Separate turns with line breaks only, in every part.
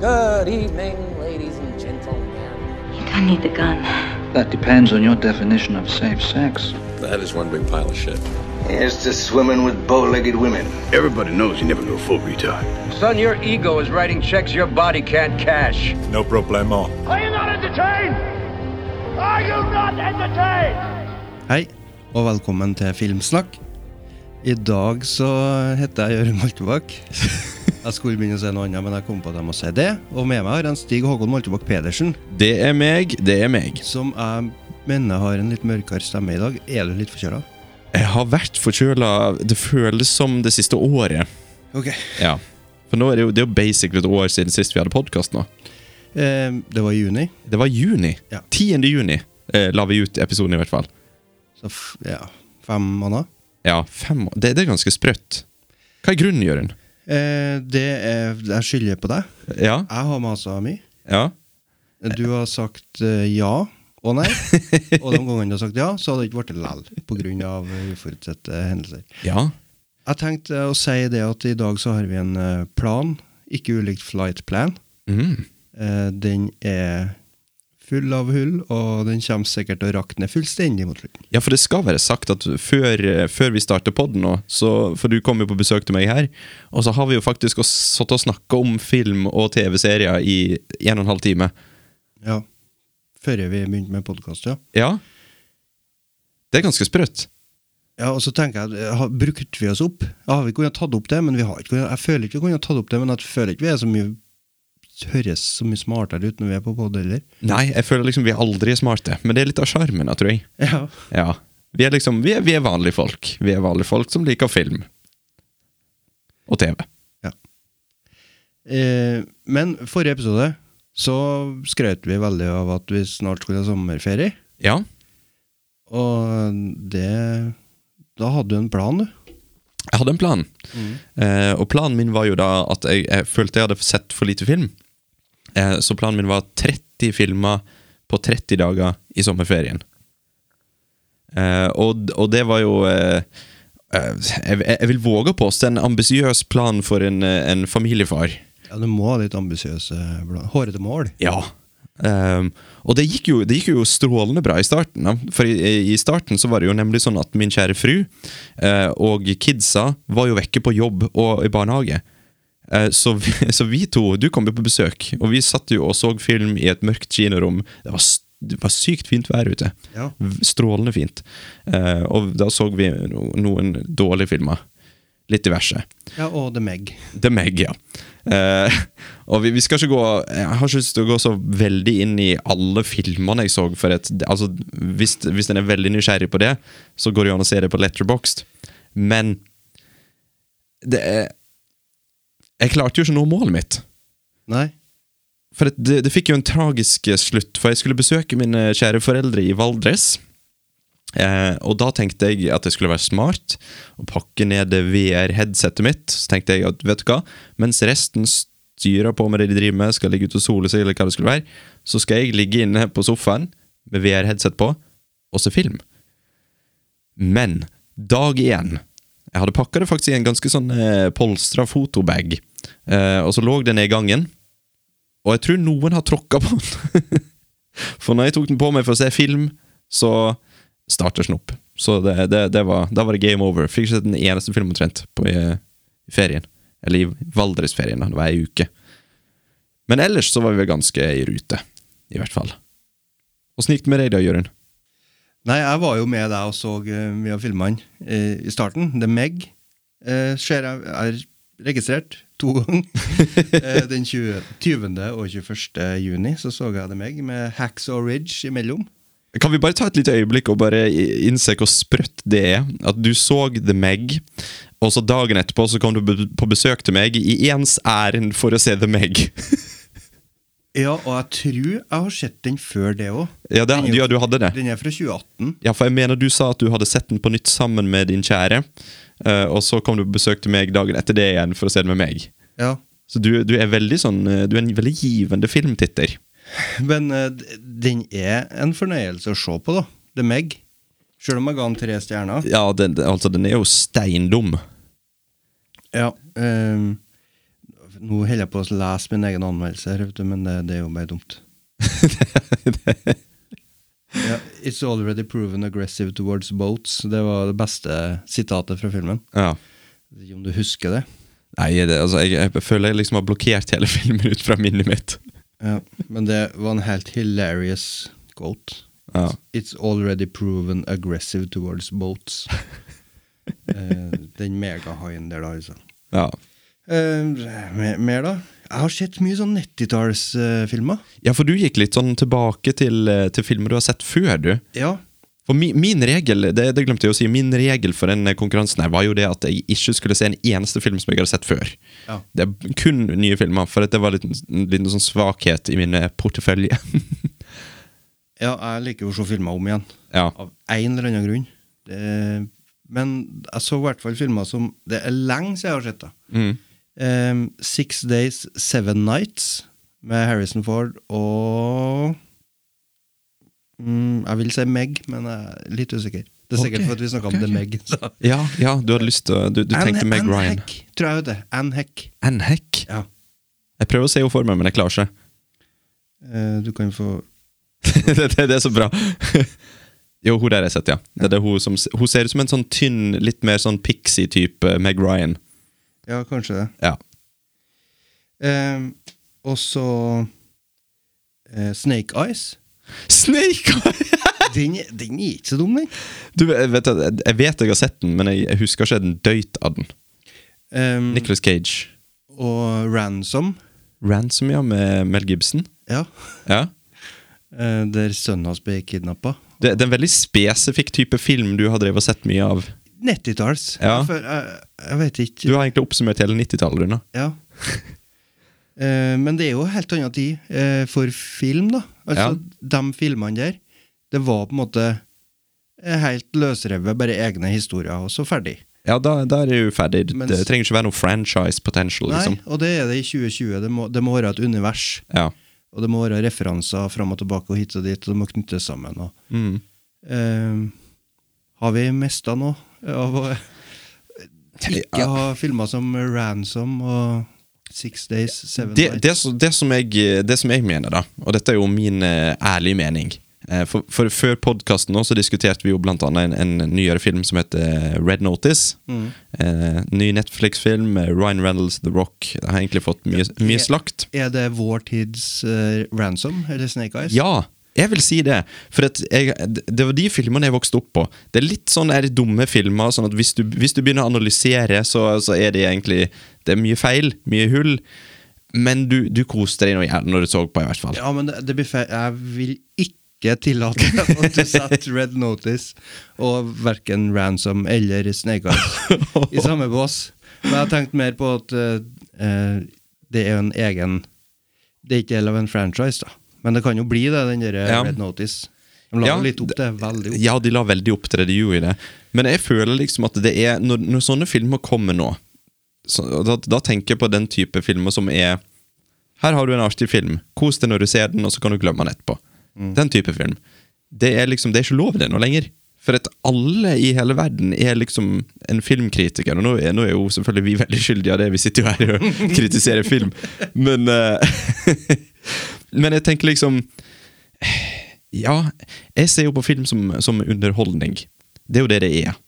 Good evening, ladies and gentlemen.
You don't need the gun.
That depends on your definition of safe sex.
That is one big pile of shit.
Here's to swimming with bow-legged women.
Everybody knows you never go full retard.
Son, your ego is writing checks your body can't cash.
No problemo.
Are you not entertained? Are you not entertained?
Hei, og velkommen til Filmsnakk. I dag så heter jeg Jørund Maltebakk. Jeg skulle begynne å si noe annet, men jeg kom på at jeg må si det. Og med meg har jeg en Stig Håkon Maltebakk Pedersen,
Det er meg, det er meg.
som jeg mener har en litt mørkere stemme i dag. Er du litt forkjøla?
Jeg har vært forkjøla Det føles som det siste året.
Ok.
Ja. For nå er det jo, det er jo basically et år siden sist vi hadde podkast nå.
Eh, det var i juni,
Det var juni.
Ja.
10. juni eh, la vi ut episoden, i hvert fall.
så f ja, fem måneder.
Ja, fem år. Det, det er ganske sprøtt. Hva er grunnen, Jørund?
Eh, det er Jeg skylder på deg.
Ja?
Jeg har masa mye.
Ja?
Du har sagt eh, ja og nei. Og de gangene du har sagt ja, så har det ikke blitt lell pga. uforutsette hendelser.
Ja?
Jeg tenkte å si det at i dag så har vi en eh, plan, ikke ulikt flight plan.
Mm.
Eh, Den er full av hull, og den kommer sikkert til å rakne fullstendig mot slutten.
Ja, for det skal være sagt at før, eh, før vi starter podden nå, så, for du kom jo på besøk til meg her, og så har vi jo faktisk også sittet og snakka om film og TV-serier i en og en halv time.
Ja. Før vi begynte med podkast, ja.
Ja. Det er ganske sprøtt.
Ja, og så tenker jeg, eh, har, Brukte vi oss opp? Ja, har vi kunnet tatt opp det? Men vi har ikke kunnet, jeg føler ikke vi kunne tatt opp det, men jeg føler ikke vi er så mye høres så mye smartere ut når vi er på pod heller.
Nei, jeg føler liksom vi er aldri smarte, men det er litt av sjarmen, da, tror jeg.
Ja.
Ja. Vi er liksom, vi er, vi er vanlige folk. Vi er vanlige folk som liker film. Og TV.
Eh, men forrige episode så skrøt vi veldig av at vi snart skulle ha sommerferie.
Ja.
Og det Da hadde du en plan, du.
Jeg hadde en plan, eh, og planen min var jo da at jeg, jeg følte jeg hadde sett for lite film. Eh, så planen min var 30 filmer på 30 dager i sommerferien. Eh, og, og det var jo eh, eh, jeg, jeg vil våge å påstå en ambisiøs plan for en, eh, en familiefar.
Ja, Du må ha litt ambisiøse plan. Hårete mål.
Ja. Ehm, og det gikk, jo, det gikk jo strålende bra i starten. Da. For i, i starten så var det jo nemlig sånn at min kjære fru eh, og kidsa var jo vekke på jobb og i barnehage. Eh, så, vi, så vi to Du kom jo på besøk, og vi satt jo og så film i et mørkt kinorom. Det var, s- det var sykt fint vær ute.
Ja.
V- Strålende fint. Eh, og da så vi no, noen dårlige filmer. Litt diverse.
ja, og The Meg.
The Meg, ja. Eh, og vi, vi skal ikke gå Jeg har ikke lyst til å gå så veldig inn i alle filmene jeg så. For et, altså, hvis, hvis en er veldig nysgjerrig på det, så går det jo an å se det på Letterboxd. Men det er Jeg klarte jo ikke å nå målet mitt.
Nei?
For det, det, det fikk jo en tragisk eh, slutt, for jeg skulle besøke mine kjære foreldre i Valdres. Eh, og da tenkte jeg at jeg skulle være smart og pakke ned VR-headsetet mitt. Så tenkte jeg at, vet du hva, mens resten styrer på med det de driver med, skal ligge ute og sole seg, eller hva det skulle være, så skal jeg ligge inne på sofaen med VR-headset på og se film. Men dag én Jeg hadde pakka det faktisk i en ganske sånn eh, polstra fotobag, eh, og så lå det ned i gangen. Og jeg tror noen har tråkka på den. for når jeg tok den på meg for å se film, så starter snopp. Så det, det, det var, da var det game over. Fikk ikke sett den eneste film omtrent på i, i ferien. Eller i Valdresferien, da. Det var ei uke. Men ellers så var vi vel ganske i rute, i hvert fall. Åssen gikk det med deg da, Jørund?
Nei, jeg var jo med deg og så eh, mye av filmene eh, i starten. The Meg eh, ser jeg er registrert to ganger. Eh, den 20, 20. og 21. juni så så jeg The Meg med Hacksaw Ridge imellom.
Kan vi bare ta et lite øyeblikk og bare i- innse hvor sprøtt det er? At du så The Meg, og så dagen etterpå så kom du be- på besøk til meg i ens ærend for å se The Meg.
Ja, og jeg tror jeg har sett den før det òg.
Ja, det, ja du hadde det.
Den er fra 2018.
Ja, for jeg mener du sa at du hadde sett den på nytt sammen med din kjære, eh, og så kom du på besøk til meg dagen etter det igjen for å se den med meg.
Ja.
Så du, du er veldig sånn eh, Du er en veldig givende filmtitter.
Men eh, d- den er en fornøyelse å se på, da. The Meg. Sjøl om jeg ga den tre stjerner.
Ja, den, den- altså, den er jo steindum.
Ja. ehm, Nå holder jeg på å lese min egen anmeldelse, her, vet du, men det, det er jo bare dumt. Ja, It's already proven aggressive towards boats. Det var det beste sitatet fra filmen.
ja.
Jeg vet ikke om du husker det.
Nei, det, altså, jeg, jeg føler jeg liksom har blokkert hele filmen ut fra minnet mitt.
Ja, men det var en helt hilarious quote.
Ja.
It's already proven aggressive towards boats. Eh, den megahaien der, da, altså.
Ja.
Eh, mer, mer, da? Jeg har sett mye sånn eh, 90-tallsfilmer.
ja, for du gikk litt sånn tilbake til, eh, til filmer du har sett før, du.
ja.
For mi, min regel det, det glemte jeg å si, min regel for den eh, konkurransen her var jo det at jeg ikke skulle se en eneste film som jeg hadde sett før.
Ja.
Det er kun nye filmer, for at det var litt, en liten sånn svakhet i min eh, portefølje.
ja, jeg liker jo å se filmer om igjen.
ja.
Av en eller annen grunn. Det, men jeg så i hvert fall filmer som Det er lenge siden jeg har sett det.
Mm.
Eh, Six Days, Seven Nights med Harrison Ford og mm, Jeg vil si Meg, men jeg er litt usikker. Det er sikkert
Ok,
for at vi snakka om The Meg. så.
ja, ja, du hadde lyst til å Du, du
Anne-
tenkte Meg
Anne
Ryan.
Heck, tror jeg det. Anne Heck.
Anne Heck?
Ja.
Jeg prøver å se henne for meg, men jeg klarer ikke.
Eh, du kan få
det, det, det er så bra. jo, hun der har jeg sett, ja. Det, er det hun, som, hun ser ut som en sånn tynn, litt mer sånn pixie-type Meg Ryan.
Ja, kanskje det.
Ja.
Eh, og så eh, Snake Eyes.
Snake Eye!
Den, den er ikke så dum, den.
Du, jeg vet, at- jeg vet jeg har sett den, men jeg, jeg husker ikke en døyt av den.
Eh,
Nicolas Cage.
og Ransom.
Ransom, ja, med Mel Gibson.
Ja.
Ja.
Eh, der sønnen hans ble kidnappa.
Det, det er en veldig spesifikk type film du har drevet og sett mye av.
90-talls.
Ja.
For Jeg, jeg vet ikke.
Du har egentlig oppsummert hele 90-tallet, Rune.
Ja. Eh, men det er jo helt annen tid eh, for film, da. Altså, De filmene der, det var på en måte eh, helt løsrevet, bare egne historier, og så ferdig.
Ja, da, da er det jo ferdig. Det-
Mens-
det trenger ikke være noe franchise potential, liksom.
Nei, og det er det i 2020. Det må, det må være et univers,
Ja.
og det må være referanser fram og tilbake og hit og dit, og det må knyttes sammen. Og,
Mm.
eh, har vi mista noe av å ikke ha filmer som Ransom og Six Days, Seven
det, det,
Nights?
som- det, som jeg, det som jeg mener, da, og dette er jo min eh, ærlige mening eh, for, for Før podkasten så diskuterte vi jo blant annet en, en nyere film som heter Red Notice. Eh, ny Netflix-film. eh, Ryan Reynolds, The Rock. Det har egentlig fått mye, mye slakt.
Er det vår tids eh, Ransom eller Snake Eyes?
Ja, jeg vil si det. For at jeg, det var de filmene jeg vokste opp på. Det er litt sånn er det dumme filmer. Sånn at hvis du, hvis du begynner å analysere, så, så er det egentlig Det er mye feil, mye hull. Men du, du koste deg nå jævlig når du så på, i hvert fall.
Ja, men det, det blir feil. Jeg vil ikke tillate at du setter Red Notice og verken Ransom eller Snake Eyes i samme bås. Men jeg har tenkt mer på at eh, eh, det er jo en egen Det er ikke del av en franchise, da. Men det kan jo bli det, den der eh,
Ja.
Red Notice. De la
Ja,
jo litt opp det. Veldig opp.
Ja, de la veldig opp til det de gjorde i det. Men jeg føler liksom at det er Når, når sånne filmer kommer nå, så, da, da tenker jeg på den type filmer som er Her har du en artig film. Kos deg når du ser den, og så kan du glemme den etterpå.
Mm.
Den type film. Det er liksom, det er ikke lov i det nå lenger. For at alle i hele verden er liksom en filmkritiker. Og nå er, nå er jo selvfølgelig vi veldig skyldige av det, vi sitter jo her og kritiserer film. Men, eh, men jeg tenker liksom ja, jeg ser jo på film som, som underholdning. Det er jo det det er.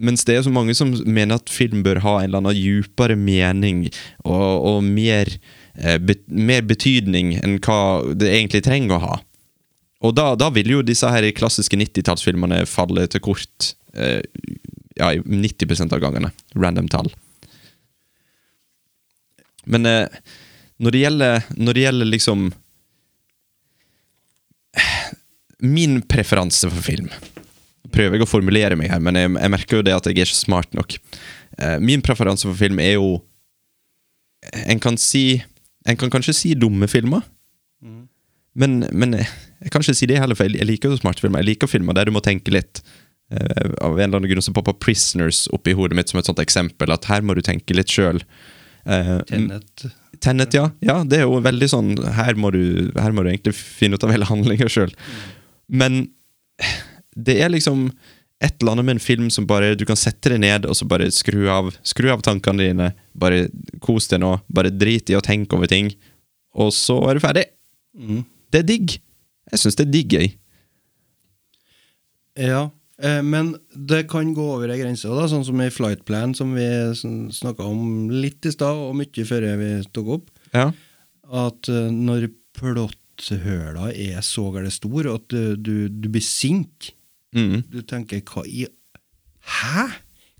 Mens det er så mange som mener at film bør ha en eller annen djupere mening og, og mer, eh, be, mer betydning enn hva det egentlig trenger å ha. Og da, da vil jo disse her klassiske 90-tallsfilmene falle til kort eh, ja, i 90 av gangene. Random tall. Men eh, når, det gjelder, når det gjelder liksom min preferanse for film Prøver jeg å formulere meg her, men jeg, jeg merker jo det at jeg er ikke smart nok. Eh, min preferanse for film er jo En kan si En kan kanskje si dumme filmer, men, men jeg, jeg kan ikke si det heller, for jeg, jeg liker jo smarte filmer. Jeg liker filmer der du må tenke litt. Eh, av en eller annen grunn så popper Prisoners opp i hodet mitt som et sånt eksempel. At her må du tenke litt Eh, sjøl.
Tenet.
Tenet, ja. ja. Det er jo veldig sånn Her må du, her må du egentlig finne ut av hele handlinga sjøl. Men det er liksom Et eller annet med en film som bare du kan sette deg ned og så bare skru av, skru av tankene dine. Bare kos deg nå. Bare drit i å tenke over ting. Og så er du ferdig. Det er digg. Jeg syns det er digg, jeg.
Ja, eh, men det kan gå over ei grense, da, sånn som i Flight Plan, som vi snakka om litt i stad, og mye før vi tok opp,
Ja.
at eh, når plotthøla er så gærent stor at eh, du, du blir sink
Mm.
Du tenker hva i Hæ?!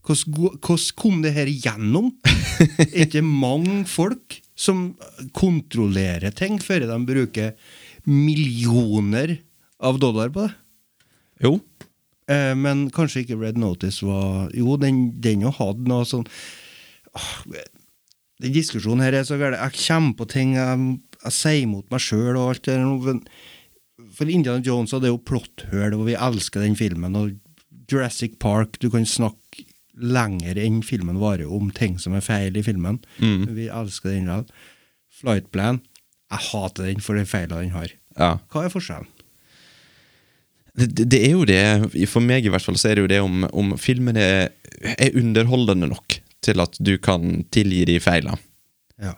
Hvordan gå- hvordan kom det her igjennom? er ikke mange folk som kontrollerer ting før de bruker millioner av dollar på det?
Jo.
Eh, men kanskje ikke Red Notice var Jo, den, den jo hadde noe sånn Åh, Den diskusjonen her er så gæren. Jeg kommer på ting, jeg, jeg sier imot meg sjøl og alt det der. men For Indiana Jones hadde jo plotthull, og vi elsker den filmen. Og Jurassic Park, du kan snakke lenger enn filmen varer om ting som er feil i filmen. Vi elsker den likevel. Flight Plan, jeg hater den for de feilene den har.
Ja.
Hva er forskjellen?
Det, det- det er jo det, for meg i hvert fall, så er det jo det om, om filmen er, er underholdende nok til at du kan tilgi de feilene.
Ja.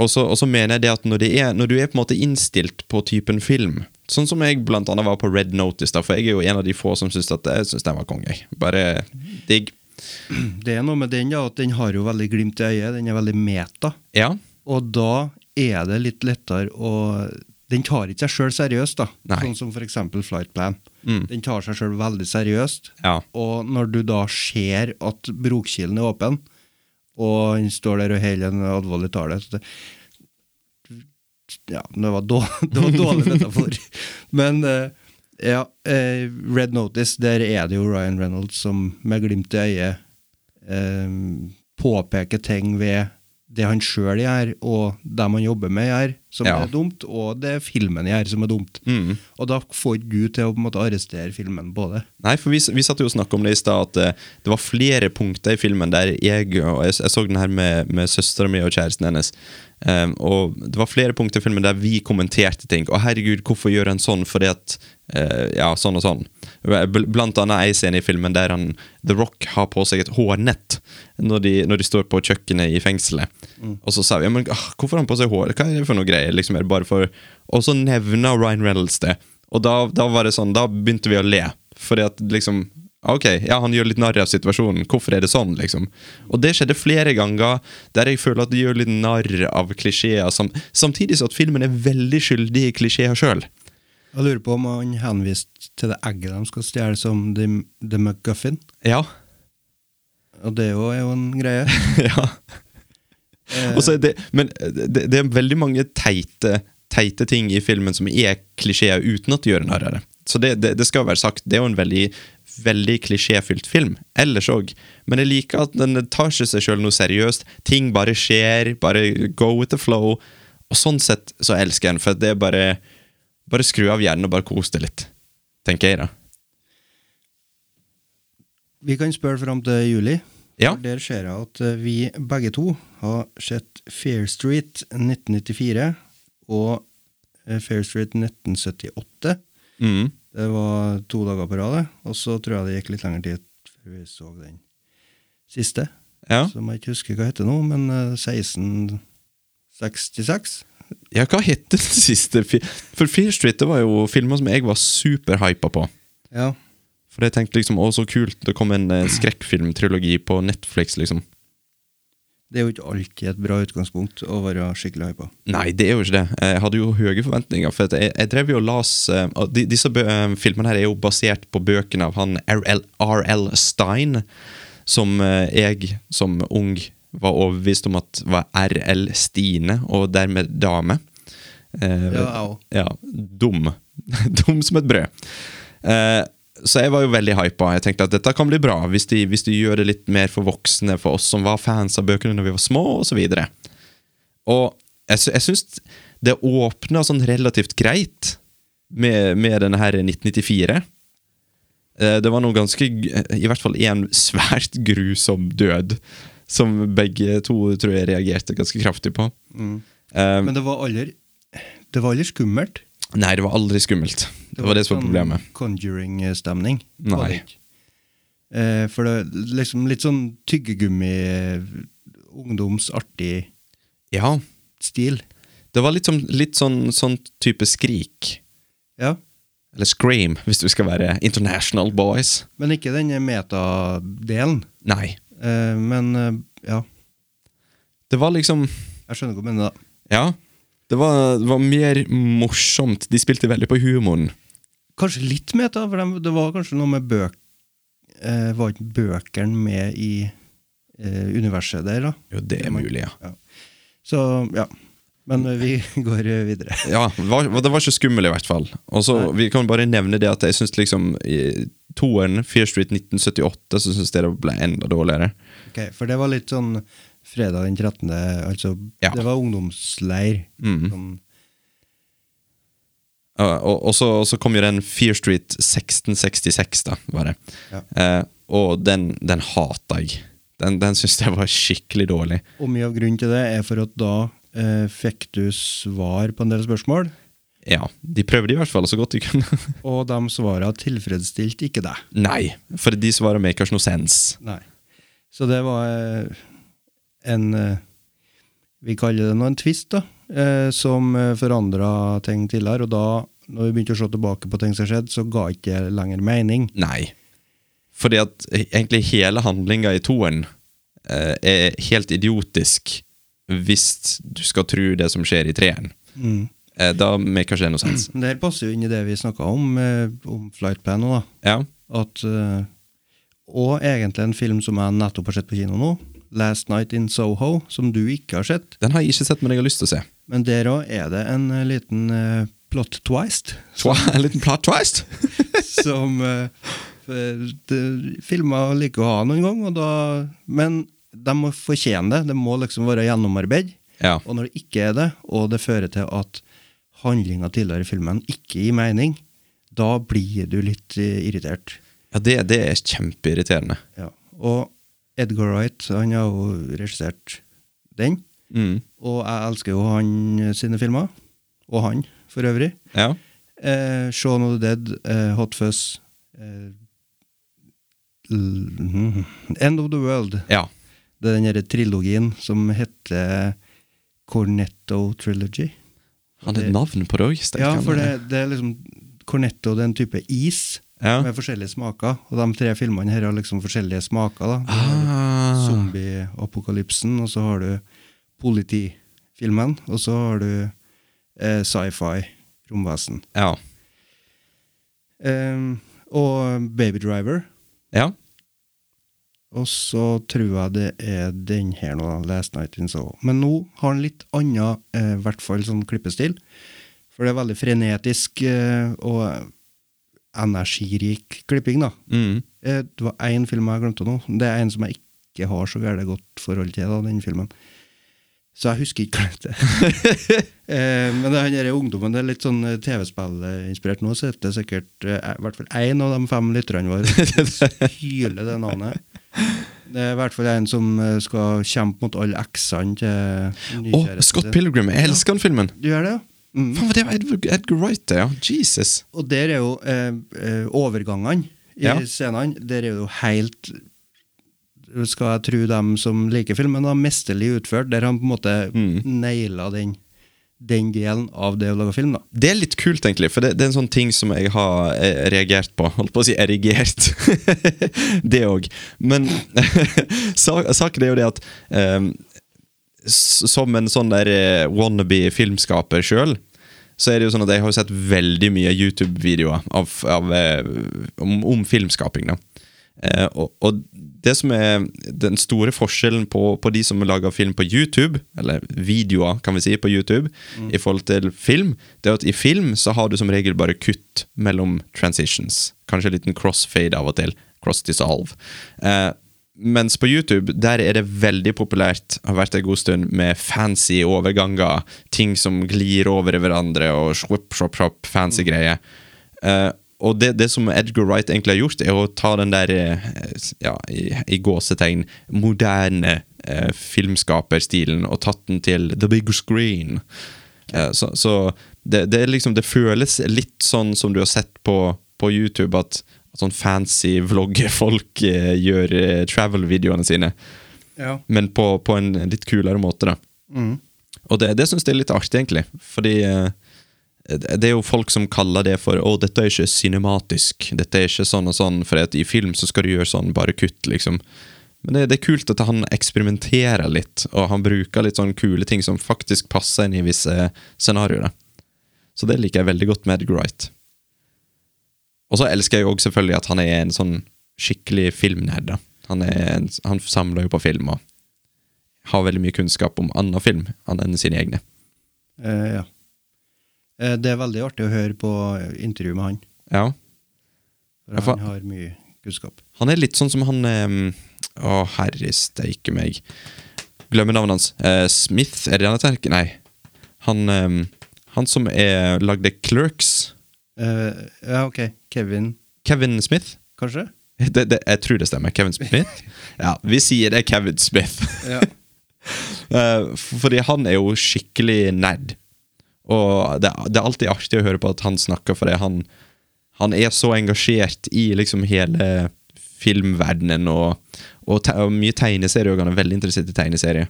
Og så, og så mener jeg det at når, det er, når du er på en måte innstilt på typen film Sånn som jeg blant annet var på Red Notice, da, for jeg er jo en av de få som syns at jeg synes den var konge. jeg. Bare digg.
Det er noe med den, ja, at den har jo veldig glimt i øyet. Den er veldig meta.
Ja.
Og da er det litt lettere å Den tar ikke seg sjøl seriøst, da.
Nei. Mm.
Sånn som for eksempel Flight Plan. Den tar seg sjøl veldig seriøst.
Ja.
Og når du da ser at brokkilen er åpen, og han står der og holder en alvorlig tale så det, Ja, det var, då, det var dårlig metafor. Men eh, ja, eh, Red Notice, der er det jo Ryan Reynolds som med glimt i øyet eh, påpeker ting ved det han sjøl gjør, og dem han jobber med gjør, som
Ja.
er dumt, og det filmen gjør, som er dumt.
Mm.
Og da får du til å på en måte arrestere filmen på det.
Nei, for vi, vi satt jo og snakka om det i stad, at eh, det var flere punkter i filmen der jeg og Jeg, jeg så den her med, med søstera mi og kjæresten hennes. ehm, og det var flere punkter i filmen der vi kommenterte ting. Og herregud, hvorfor gjør han sånn fordi at eh, Ja, sånn og sånn. Bl- Blant annet ei scene i filmen der han, The Rock har på seg et hårnett når de, når de står på kjøkkenet i fengselet. Og så sa vi ja, men, ah, hvorfor har han på seg hår? Hva er det for noe greier? Liksom, er det bare for... Og så nevner Ryan Reynolds det. Og da, da var det sånn, da begynte vi å le. Fordi at liksom Ok, ja, han gjør litt narr av situasjonen. Hvorfor er det sånn? liksom? Og det skjedde flere ganger der jeg føler at de gjør litt narr av klisjeer. Sam samtidig så at filmen er veldig skyldig i klisjeer sjøl.
Jeg lurer på om han henviste til det egget de skal stjele som The, the McGuffin.
Ja.
Og det er jo, er jo en greie.
ja. Og så er det, men eh, det, det er veldig mange teite, teite ting i filmen som er klisjeer uten at de gjør narr av det. Så det, det, det skal være sagt, det er jo en veldig, veldig klisjéfylt film. Ellers òg. Men jeg liker at den tar ikke seg sjøl noe seriøst. Ting bare skjer. Bare go with the flow. Og sånn sett så elsker jeg den, for det er bare Bare skru av hjernen og bare kos deg litt. Tenker jeg, da.
Vi kan spørre fram til juli.
Ja.
For Der ser jeg at eh, vi begge to har sett Fair Street 1994 og eh, Fair Street 1978.
Mm.
Det var to dager på rad, det. og så tror jeg det gikk litt lengre tid før vi så den siste.
Ja.
Som jeg ikke husker hva heter nå, men eh, 1666.
Ja, hva het den siste fi- For Fear Street det var jo filmer som jeg var superhypa på.
Ja.
For jeg tenkte liksom, å så kult, det kom en eh, skrekkfilmtrilogi på Netflix, liksom.
Det er jo ikke alltid et bra utgangspunkt å være skikkelig hypa.
Nei, det er jo ikke det. Jeg hadde jo høye forventninger. For at jeg, jeg drev jo og las eh, og de, Disse bø eh, filmene her er jo basert på bøkene av han R.L. R.L. Stein, som eh, jeg som ung var overbevist om at var R.L. Stine, og dermed dame. Eh,
Ja, jeg også.
ja, dum. dum som et brød. Eh, så jeg var jo veldig hypa. Jeg tenkte at dette kan bli bra, hvis de, hvis de gjør det litt mer for voksne, for oss som var fans av bøkene når vi var små, osv. Og jeg, sy- jeg syns det åpna sånn relativt greit med, med denne her 1994. Eh, Det var noe ganske g- I hvert fall en svært grusom død, som begge to tror jeg reagerte ganske kraftig på. Eh,
Men det var aldri Det var aldri skummelt.
nei, det var aldri skummelt. Det var det som var
sånn
problemet.
Conjuring-stemning. var
Nei.
det ikke. Eh, for det er liksom litt sånn tyggegummi, ungdomsartig
Ja.
stil.
Det var litt, som, litt sånn, sånn type skrik.
Ja.
Eller scream, hvis du skal være international boys.
Men ikke den metadelen.
Nei.
Eh, men eh, ja,
Det var liksom
jeg skjønner hva du mener, da.
Ja. Det var, det var mer morsomt. De spilte veldig på humoren.
Kanskje litt meta, for dem- det var kanskje noe med bøk... Eh, var ikke bøkene med i eh, universet der, da?
Jo, det er mulig, ja.
Så ja. Men eh, vi går eh, videre.
Ja, det var, det var ikke skummel i hvert fall. Og så, Vi kan bare nevne det at jeg syns liksom i toeren, Fear Street 1978, så syns jeg det ble enda dårligere.
Ok, For det var litt sånn fredag den 13., altså
Ja.
Det var ungdomsleir. Sånn,
Ja, Og, og, så, og så kom jo den Fear Street 1666, da, var det.
Ja.
Eh, og den, den hata jeg. Den, den syns jeg var skikkelig dårlig.
og mye av grunnen til det er for at da eh, fikk du svar på en del spørsmål,
Ja, De prøvde i hvert fall så godt de kunne.
og de svarene tilfredsstilte ikke deg.
Nei, for de svarer makers no sense.
Nei. Så det var eh, en eh, Vi kaller det nå en twist, da. eh, Som forandra ting tidligere. Og da, når vi begynte å se tilbake på ting som skjedde, så ga ikke det lenger mening.
Nei. Fordi at eh, egentlig hele handlinga i toeren eh, er helt idiotisk hvis du skal tro det som skjer i treeren. Eh, da maker det noe sens.
Men det her passer jo inn i det vi snakka om, eh, om Flight Plan nå, da.
Ja.
At eh, Og egentlig en film som jeg nettopp har sett på kino nå, Last Night in Soho, som du ikke har sett.
Den har jeg ikke sett, men jeg har lyst til å se.
Men der òg er det en eh, liten eh, plot twist
Twa, en liten plot twist!
som uh, filmer liker å ha noen gang, og da, men de må fortjene det. Det må liksom være gjennomarbeid.
ja.
Og når det ikke er det, og det fører til at handlinga tidligere i filmen ikke gir mening, da blir du litt eh, irritert.
ja det, det er kjempeirriterende.
Ja. Og Edgar Wright, han har jo regissert den,
Mm.
og jeg elsker jo han eh, sine filmer. Og han, for øvrig.
Ja.
Eh, Shaun of the Dead, eh, Hot Fuzz eh, l- mhm. End of the World.
ja.
Det er den derre trilogien som heter Cornetto Trilogy.
Han hadde navn på det òg.
Ja, for det, det er liksom Cornetto det er en type is
Ja.
med forskjellige smaker. Og de tre filmene her har liksom forskjellige smaker. da. Du har
ah.
Zombie-apokalypsen, og så har du politifilmen, og så har du eh, sci-fi, romvesen.
ja.
Eh, og Baby Driver.
ja.
Og så tror jeg det er den her nå, da, Last Night in Soho. Men nå har han litt annen, i eh, hvert fall sånn klippestil. For det er veldig frenetisk eh, og energirik klipping, da.
Mm.
Eh, det var én film jeg glemte nå. Det er en som jeg ikke har så gærent godt forhold til, da, den filmen. Så jeg husker ikke hva det heter. eh, men det er han der ungdommen det er litt sånn eh, TV-spillinspirert nå, så heter det sikkert eh, i hvert fall én av de fem lytterne våre hyler det navnet. Det er i hvert fall en som eh, skal kjempe mot alle eksene til
Å, Scott Pilgrim! Jeg elsker den filmen!
Du gjør det, ja? Mm.
Faen, for det var Edgar, Edgar Wright, det, ja. Jesus.
Og der er jo eh, eh, overgangene i
Ja.
scenene, der er jo helt Skal jeg tro dem som liker filmen, da, mesterlig utført, der han på en måte
Mm.
naila den, den delen av det å lage film, da.
Det er litt kult, egentlig, for det, det er en sånn ting som jeg har eh, reagert på. Holdt på å si erigert. det òg. Men sa- saken er jo det at ehm, s- Som en sånn der eh, wannabe-filmskaper sjøl, så er det jo sånn at jeg har jo sett veldig mye YouTube-videoer av, av, eh, om, om filmskaping. da. Eh, og, og det som er den store forskjellen på, på de som lager film på YouTube, eller videoer, kan vi si, på YouTube, i forhold til film, det er at i film så har du som regel bare kutt mellom transitions. Kanskje en liten crossfade av og til. Cross-dissolve. Eh, mens på YouTube der er det veldig populært, har vært en god stund, med fancy overganger. Ting som glir over i hverandre, og swip, swip, swip, fancy greier. Eh, og det, det som Edgar Wright egentlig har gjort, er å ta den der eh, ja, i, i gåsetegn moderne eh, filmskaperstilen og tatt den til the big screen. Eh, så så det, det, er liksom, det føles litt sånn som du har sett på, på YouTube, at, at sånn fancy vloggefolk eh, gjør eh, travel-videoene sine.
Ja.
Men på, på en litt kulere måte, da. Og det, det syns jeg er litt artig, egentlig. Fordi eh, det er jo folk som kaller det for Å, dette er ikke cinematisk. Dette er ikke sånn og sånn, for at i film så skal du gjøre sånn, bare kutt, liksom. Men det, det er kult at han eksperimenterer litt, og han bruker litt sånn kule ting som faktisk passer inn i visse scenarioer. Så det liker jeg veldig godt med Edgar Wright. Og så elsker jeg jo også selvfølgelig at han er en sånn skikkelig filmnerd. da. Han, er en, han samler jo på film og har veldig mye kunnskap om annen film annet enn sine egne.
Eh, ja. Eh, det er veldig artig å høre på intervju med han.
Ja, Ja,
For
for-
han har mye kunnskap.
Han er litt sånn som han ehm, Å, herre steike meg. Glemmer navnet hans. Eh, Smith, er det han heter? Nei. Han, ehm, han som er, lagde Clerks.
Eh, ja, ok. Kevin,
Kevin Smith?
kanskje?
Det, det, jeg tror det stemmer. Kevin Smith? Ja, vi sier det er Kevin Smith.
Ja.
Eh, Fordi han er jo skikkelig nerd. Og det, det er alltid artig å høre på at han snakker, fordi han, han er så engasjert i liksom hele filmverdenen, og, og, te, og mye tegneserier, og han er veldig interessert i tegneserier.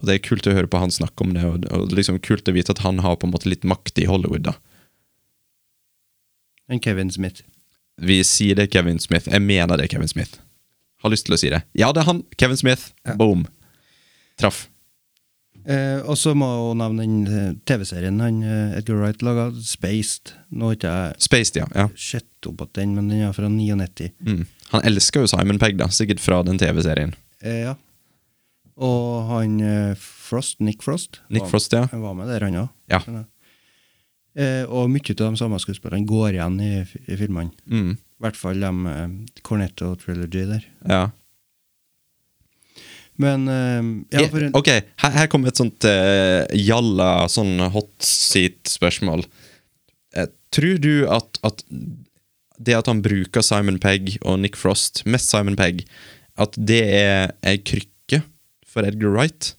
Og Det er kult å høre på han snakke om det, og, og liksom kult å vite at han har på en måte litt makt i Hollywood. da.
En Kevin Smith.
Vi sier det Kevin Smith. Jeg mener det Kevin Smith. Har lyst til å si det. Ja, det er han! Kevin Smith. Boom. Traff.
Eh, og så må jeg også nevne den eh, TV-serien han eh, Edgar Wright laga, Spaced. Nå har ikke jeg
Spaced, ja. ja.
sett opp at den, men den er fra 99.
Mm. Han elsker jo Simon Pegg, da, sikkert fra den TV-serien.
Eh, ja. Og han eh, Frost, Nick Frost,
Nick
var,
Frost, ja.
han var med der, han òg.
Ja.
Eh, og mye av de samme skuespillerne går igjen i, f- i filmene.
Mm.
I hvert fall de eh, Cornetto Trilogy der.
ja.
Men eh, ja, for en,
Ok, her, her kommer et sånt eh, jalla, sånn hot seat-spørsmål. Eh, tror du at, at det at han bruker Simon Pegg og Nick Frost, mest Simon Pegg, at det er ei krykke for Edgar Wright?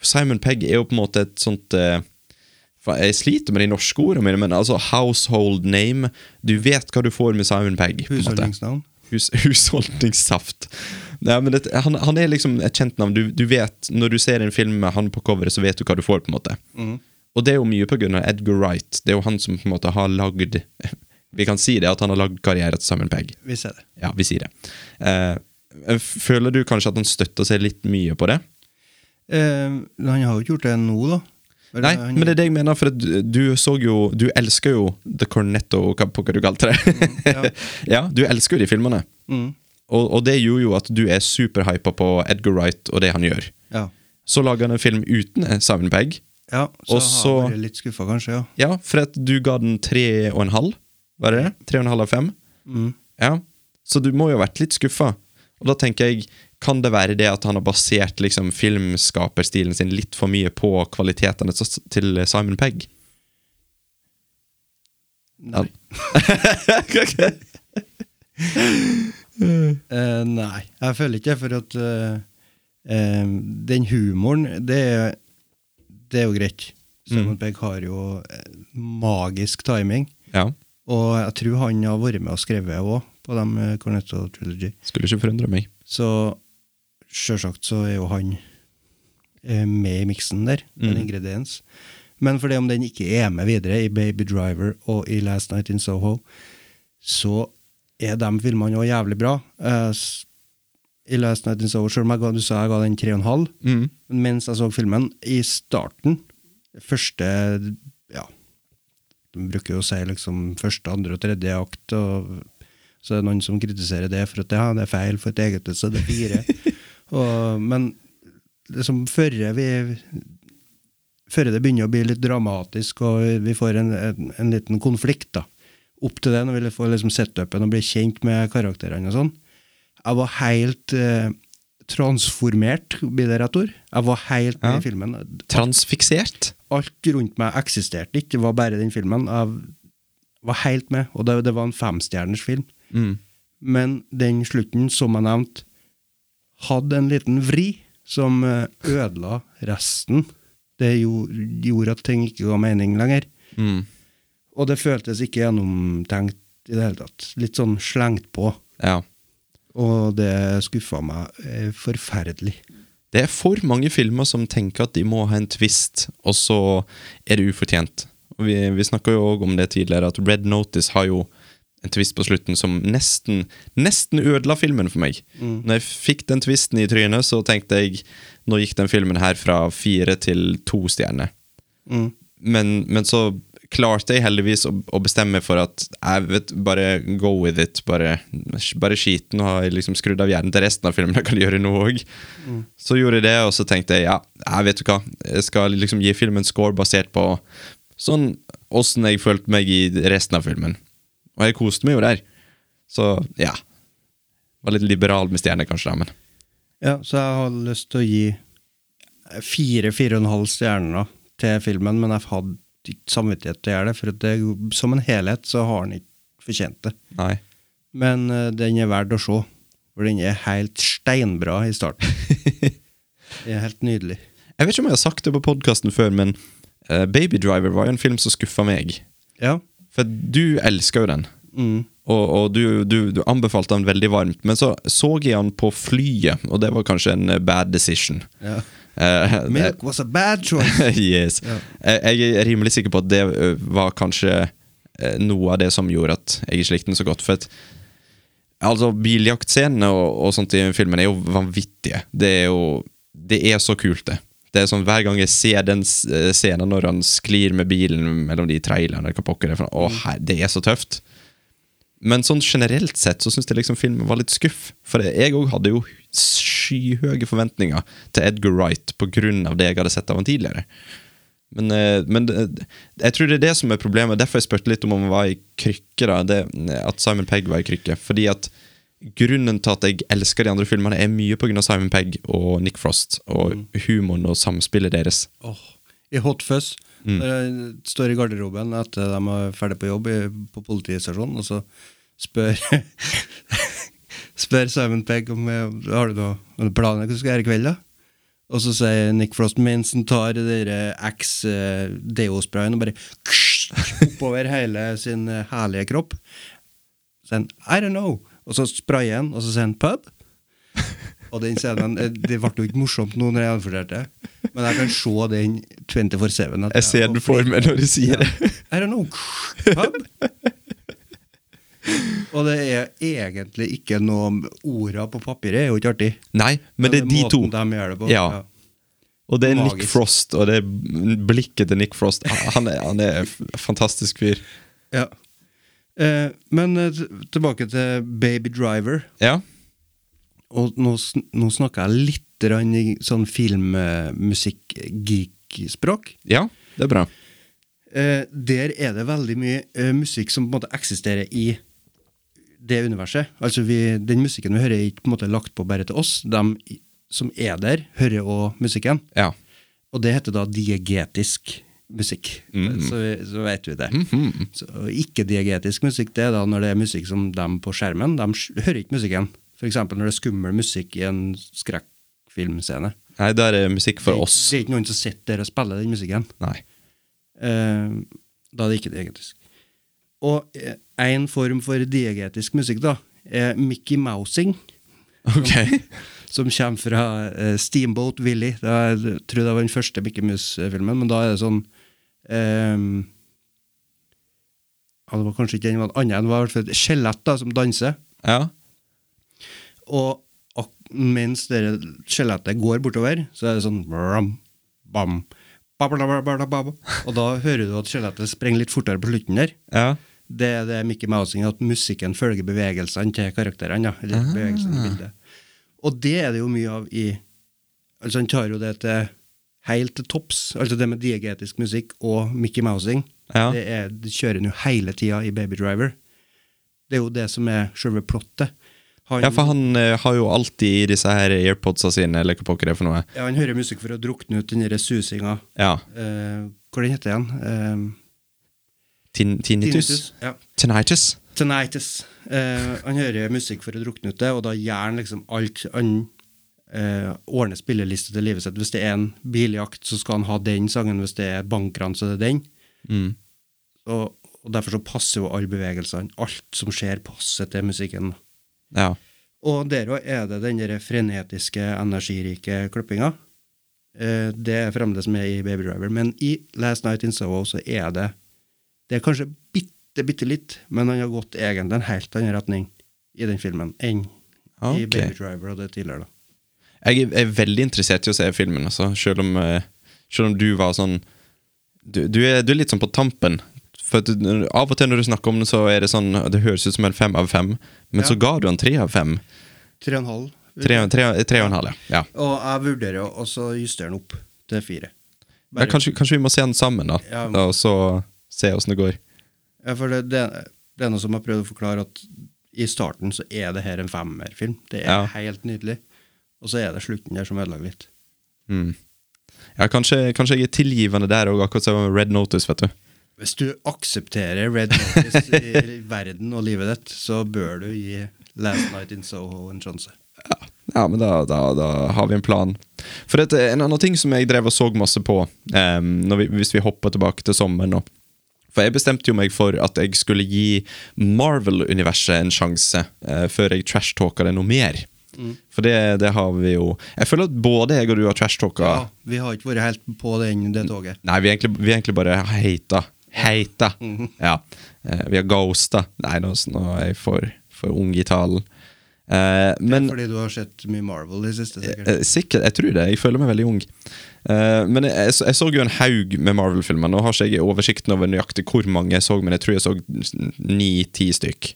For Simon Pegg er jo på en måte et sånt eh, fa- Jeg sliter med de norske ordene mine, men altså household name Du vet hva du får med Simon Pegg. på en måte.
husholdningsnavn.
Hus, husholdningssaft. Nei, men det, han, han er liksom et kjent navn. Du, du vet, Når du ser en film med han på coveret, så vet du hva du får. på en måte. Og det er jo mye på grunn av Edgar Wright. Det er jo han som på en måte har lagd Vi kan si det, at han har lagd karriere til Simon Pegg.
Vi ser det.
Ja, vi sier det. Eh, føler du kanskje at han støtter seg litt mye på det?
Eh, han har jo ikke gjort det nå, da. Eller,
Nei,
han-
men eh, det er det jeg mener, for at du, du så jo Du elsker jo The Cornetto, hva på hva du kalte det. Mm, ja. Mm. du elsker jo de filmene. Og, og det gjorde jo at du er superhypa på Edgar Wright og det han gjør.
Ja.
Så lager han en film uten Simon Pegg.
ja så
Og
har
så-
jeg vært litt skuffa, kanskje. ja.
Ja, for at du ga den tre og en halv, var det det? Tre og en halv av fem? Ja, så du må jo ha vært litt skuffa. Og da tenker jeg, kan det være det at han har basert liksom, filmskaperstilen sin litt for mye på kvalitetene til- til Simon Pegg?
Nei. Eh, nei, jeg føler ikke det, for at eh, eh, den humoren, det er, det er jo greit. Simon Pegg har jo eh, magisk timing,
Ja,
og jeg tror han har vært med og skrevet òg, på de eh, Cornetto Trilogy.
skulle ikke forundre meg.
Så sjølsagt så er jo han eh, med i miksen der, med en ingrediens. Men for det om den ikke er med videre i Baby Driver og i Last Night in Soho, så er de filmene òg jævlig bra. Eh, s- I Last Night in Soho, selv om jeg ga, du sa jeg ga den tre og en halv, men mens jeg så filmen, i starten, første ja, de bruker jo å si liksom første, andre og tredje akt, og så er det noen som kritiserer det for at ja, det er feil, for et eget så det er fire. og, men liksom før vi før det begynner å bli litt dramatisk, og vi får en, en, en liten konflikt, da. Opp til det, når vi får liksom setupen og blir kjent med karakterene og sånn. Jeg var helt eh, transformert, blir det rett ord? Jeg var helt med i filmen.
Transfiksert?
Alt rundt meg eksisterte ikke, det var bare den filmen. Jeg var helt med, og det, det var en femstjerners film. Men den slutten, som jeg nevnte, hadde en liten vri som eh, ødela resten. Det jo- gjorde at ting ikke ga mening lenger. Og det føltes ikke gjennomtenkt i det hele tatt. Litt sånn slengt på.
Ja.
Og det skuffa meg eh, forferdelig.
Det er for mange filmer som tenker at de må ha en twist, og så er det ufortjent. Og vi vi snakka jo òg om det tidligere, at Red Notice har jo en twist på slutten som nesten nesten ødela filmen for meg. Når jeg fikk den twisten i trynet, så tenkte jeg nå gikk den filmen her fra fire til to stjerner. Men, men så klarte jeg heldigvis å, å bestemme meg for at jeg vet, bare go with it. Bare, bare skit. Nå har jeg liksom skrudd av hjernen til resten av filmen. Jeg kan gjøre noe òg. Så gjorde jeg det, og så tenkte jeg ja, jeg vet du hva, jeg skal liksom gi filmen score basert på sånn åssen jeg følte meg i resten av filmen. Og jeg koste meg jo der. Så ja. Var litt liberal med stjerner, kanskje, da, men
Ja, så jeg har lyst til å gi fire, fire og en halv stjerner til filmen, men jeg hadde ikke samvittighet til å gjøre det, for at det, som en helhet så har den ikke fortjent det.
nei.
Men eh, den er verd å se, for den er helt steinbra i starten. det er helt nydelig.
Jeg vet ikke om jeg har sagt det på podkasten før, men eh, Baby Driver var jo en film som skuffa meg.
Ja.
For du elsker jo den. Og, og du, du, du anbefalte den veldig varmt. Men så så jeg den på flyet, og det var kanskje en eh, bad decision.
ja.
Eh, det-
Milk was a bad choice.
yes. Jeg, jeg er rimelig sikker på at det ø, var kanskje eh, noe av det som gjorde at jeg ikke likte den så godt. For at, altså, Biljaktscenene og, og sånt i filmen er jo vanvittige. Det er jo det er så kult, det. Det er sånn Hver gang jeg ser den s- eh, scenen når han sklir med bilen mellom de trailerne eller hva pokker det er for noe, å, her- det er så tøft. Men sånn generelt sett så syns jeg liksom filmen var litt skuff. For jeg òg hadde jo skyhøye forventninger til Edgar Wright pga. det jeg hadde sett av han tidligere. Men, eh, men det- jeg tror det er det som er problemet. Derfor jeg spurte litt om han var i krykke. da det, At Simon Pegg var i krykke. Fordi at grunnen til at jeg elsker de andre filmene, er mye pga. Simon Pegg og Nick Frost.
Mm.
Og humoren og samspillet deres.
Åh, I hot fuzz. Der jeg står i garderoben etter de er ferdig på jobb i, på politistasjonen, og så spør Spør Simon Pegg om eh, har du noe har du planer hva du skal gjøre i kveld. da? Og så sier Nick Frost mens han tar eh, X-deo-sprayen og bare oppover hele sin eh, herlige kropp. Så sier han I don't know, og så sprayer han, og så sier han pub. Og den scenen, eh, Det ble jo ikke morsomt nå når jeg anførte det, men jeg kan se den 24-7. at
Jeg ser den for meg når du sier det.
I don't know. Pub. Og det er egentlig ikke noe om Orda på papiret er jo ikke artig.
Nei, men det er de to.
måten De gjør det på.
Ja. Og det er Nick
Magisk.
Frost, og det er blikket til Nick Frost. Han er, han er en fantastisk fyr.
Ja. Eh, men eh, t- tilbake til Baby Driver.
Ja.
Og nå, sn- nå snakker jeg litt grann i sånn filmmusikk-geek-språk.
ja, det er bra.
Eh, der er det veldig mye eh, musikk som på en måte eksisterer i det universet. Altså vi, Den musikken vi hører, er ikke på en måte lagt på bare til oss. De i- som er der, hører òg musikken.
Ja.
Og det heter da diegetisk musikk.
Mm.
Så, så vet vi det.
Mm-hmm.
Så Ikke-diegetisk musikk det er da når det er musikk som dem på skjermen. De sk- hører ikke musikken. F.eks. når det er skummel musikk i en skrekkfilmscene.
Nei, da er det musikk for
Det er-
oss.
Det er ikke noen som sitter der og spiller den musikken.
Nei.
Eh, da er det ikke diegetisk. Og eh, en form for diegetisk musikk, da, er Mickey Mousing,
Ok.
som kommer fra eh, Steamboat Willy. Det er, jeg tror det var den første Mickey Mouse-filmen, men da er det sånn eh, ja, Det var kanskje ikke den, det var en annen. Det var i hvert fall et skjelett da, som danser.
Ja.
Og ak mens dere skjelettet går bortover, så er det sånn ram, bam, babalabalababa. Og da hører du at skjelettet sprenger litt fortere på slutten der.
Ja.
Det er det Mickey Mousing, at musikken følger bevegelsene til karakterene. Ja,
Ah.
eller bevegelsene i bildet. Og det er det jo mye av i Altså Han tar jo det til helt til topps, altså det med diegetisk musikk og Mickey Mousing.
Ja.
Det, er, det kjører han jo hele tida i Baby Driver. Det er jo det som er selve plottet. Han-
ja, for han eh, har jo alltid i disse her airpodsa sine, eller hva pokker det er for noe.
Ja, han hører musikk for å drukne ut den der susinga.
Ja.
Eh, hva den heter den? Eh,
Tin tinnitus.
tinnitus. Ja.
Tinnitus.
Tinnitus. Eh, han hører musikk for å drukne ut det, og da gjør han liksom alt han eh, ordner spilleliste til livet sitt. Hvis det er en biljakt, så skal han ha den sangen. Hvis det er bankrans, så er det den. Og, og derfor så passer jo alle bevegelsene. Alt som skjer, passer til musikken.
Ja.
Og der òg er det den der frenetiske, energirike klippinga. Eh, Det er fremdeles med i Baby Driver, men i Last Night in Soho så er det Det er kanskje bitte, bitte litt, men han har gått egentlig en helt annen retning i den filmen enn i
Ok.
Baby Driver og det tidligere. da.
Jeg er, er veldig interessert i å se filmen, altså. Selv om, eh, selv om du var sånn du, du, er, du er litt sånn på tampen. For at du, når- Av og til når du snakker om det, så er det sånn Det høres ut som en fem av fem, men
Ja.
så ga du en tre av fem.
Tre og en halv.
Tre, tre, tre og en halv, ja. ja.
Og jeg vurderer å også justere den opp til fire.
ja kanskje, kanskje vi må se den sammen, da,
Ja.
da og så se åssen det går.
Ja, for det, det, det er noe som jeg prøvde å forklare, at i starten så er det her en femmerfilm. Det er
Ja.
helt nydelig. Og så er det slutten der som ødelegger litt.
Ja, kanskje, kanskje jeg er tilgivende der òg, akkurat som med Red Notice, vet du.
Hvis du aksepterer Red Notice i verden og livet ditt, så bør du gi Last Night in Soho en sjanse.
Ja, men da, da, da har vi en plan. For dette, er En annen ting som jeg drev og så masse på, eh, når vi, hvis vi hopper tilbake til sommeren nå For jeg bestemte jo meg for at jeg skulle gi Marvel-universet en sjanse eh, før jeg trashtalka det noe mer. For det, det har vi jo Jeg føler at både jeg og du har trashtalka
Ja, vi har ikke vært helt på den, det toget.
Nei, vi er egentlig, vi er egentlig bare heita. Heita. Ja. Eh, vi har ghosta. Nei, nå, nå er jeg for, for ung i talen. Eh, men
Fordi du har sett mye Marvel i det siste, sikkert.
Eh, Sikkert, jeg tror det. Jeg føler meg veldig ung. Eh, men jeg, jeg, så- jeg så jo en haug med Marvel-filmer. Nå har ikke jeg oversikten over nøyaktig hvor mange jeg så, men jeg tror jeg så ni-ti stykk.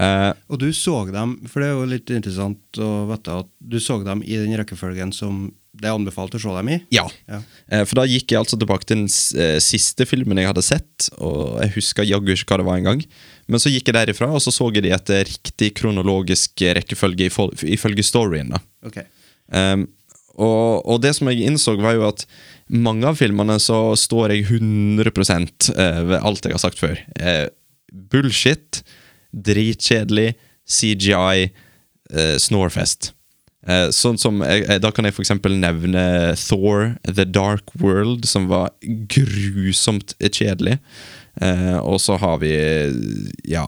Eh,
Og du så dem, for det er jo litt interessant å vite at du så dem i den rekkefølgen som det er anbefalt å se dem i.
ja.
Ja.
Eh, for da gikk jeg altså tilbake til den s- eh, siste filmen jeg hadde sett, og jeg husker jaggu ikke hva det var engang. Men så gikk jeg derifra, og så så jeg de etter riktig kronologisk rekkefølge ifol- ifølge storyen. da.
Ok.
Um, og, og det som jeg innså, var jo at mange av filmene så står jeg 100 eh, ved alt jeg har sagt før. Eh, bullshit, dritkjedelig, CGI, eh, snorefest. Eh, sånn som jeg, eh, Da kan jeg f.eks. nevne Thor, The Dark World, som var grusomt kjedelig. Eh, og så har vi Ja,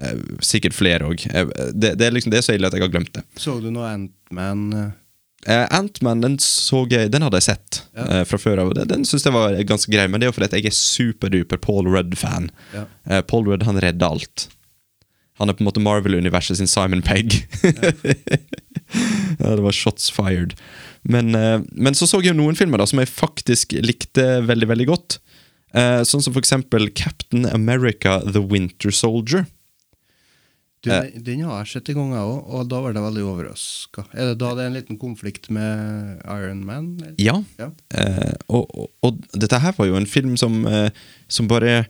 eh, sikkert flere òg. det, det er liksom det er så ille at jeg har glemt det.
Så du noe Ant-Man? eh?
Eh, Ant-Man den så jeg, den hadde jeg sett
Ja.
eh, fra før av. Den, den synes jeg var ganske grei, men det er jo fordi at jeg er superduper Paul Rudd-fan.
Ja.
Eh, Paul Rudd han redder alt. Han er på en måte Marvel-universet sin Simon Pegg. Ja. det var shots fired. Men, eh, men så så jeg jo noen filmer da som jeg faktisk likte veldig, veldig godt. Eh, sånn som for eksempel Captain America The Winter Soldier.
Du, den- Den har jeg sett en gang, jeg òg, og da var det veldig overraska. Er det da det er en liten konflikt med Iron Man? eller?
Ja.
Ja.
Eh, og, og, og dette her var jo en film som, eh, som bare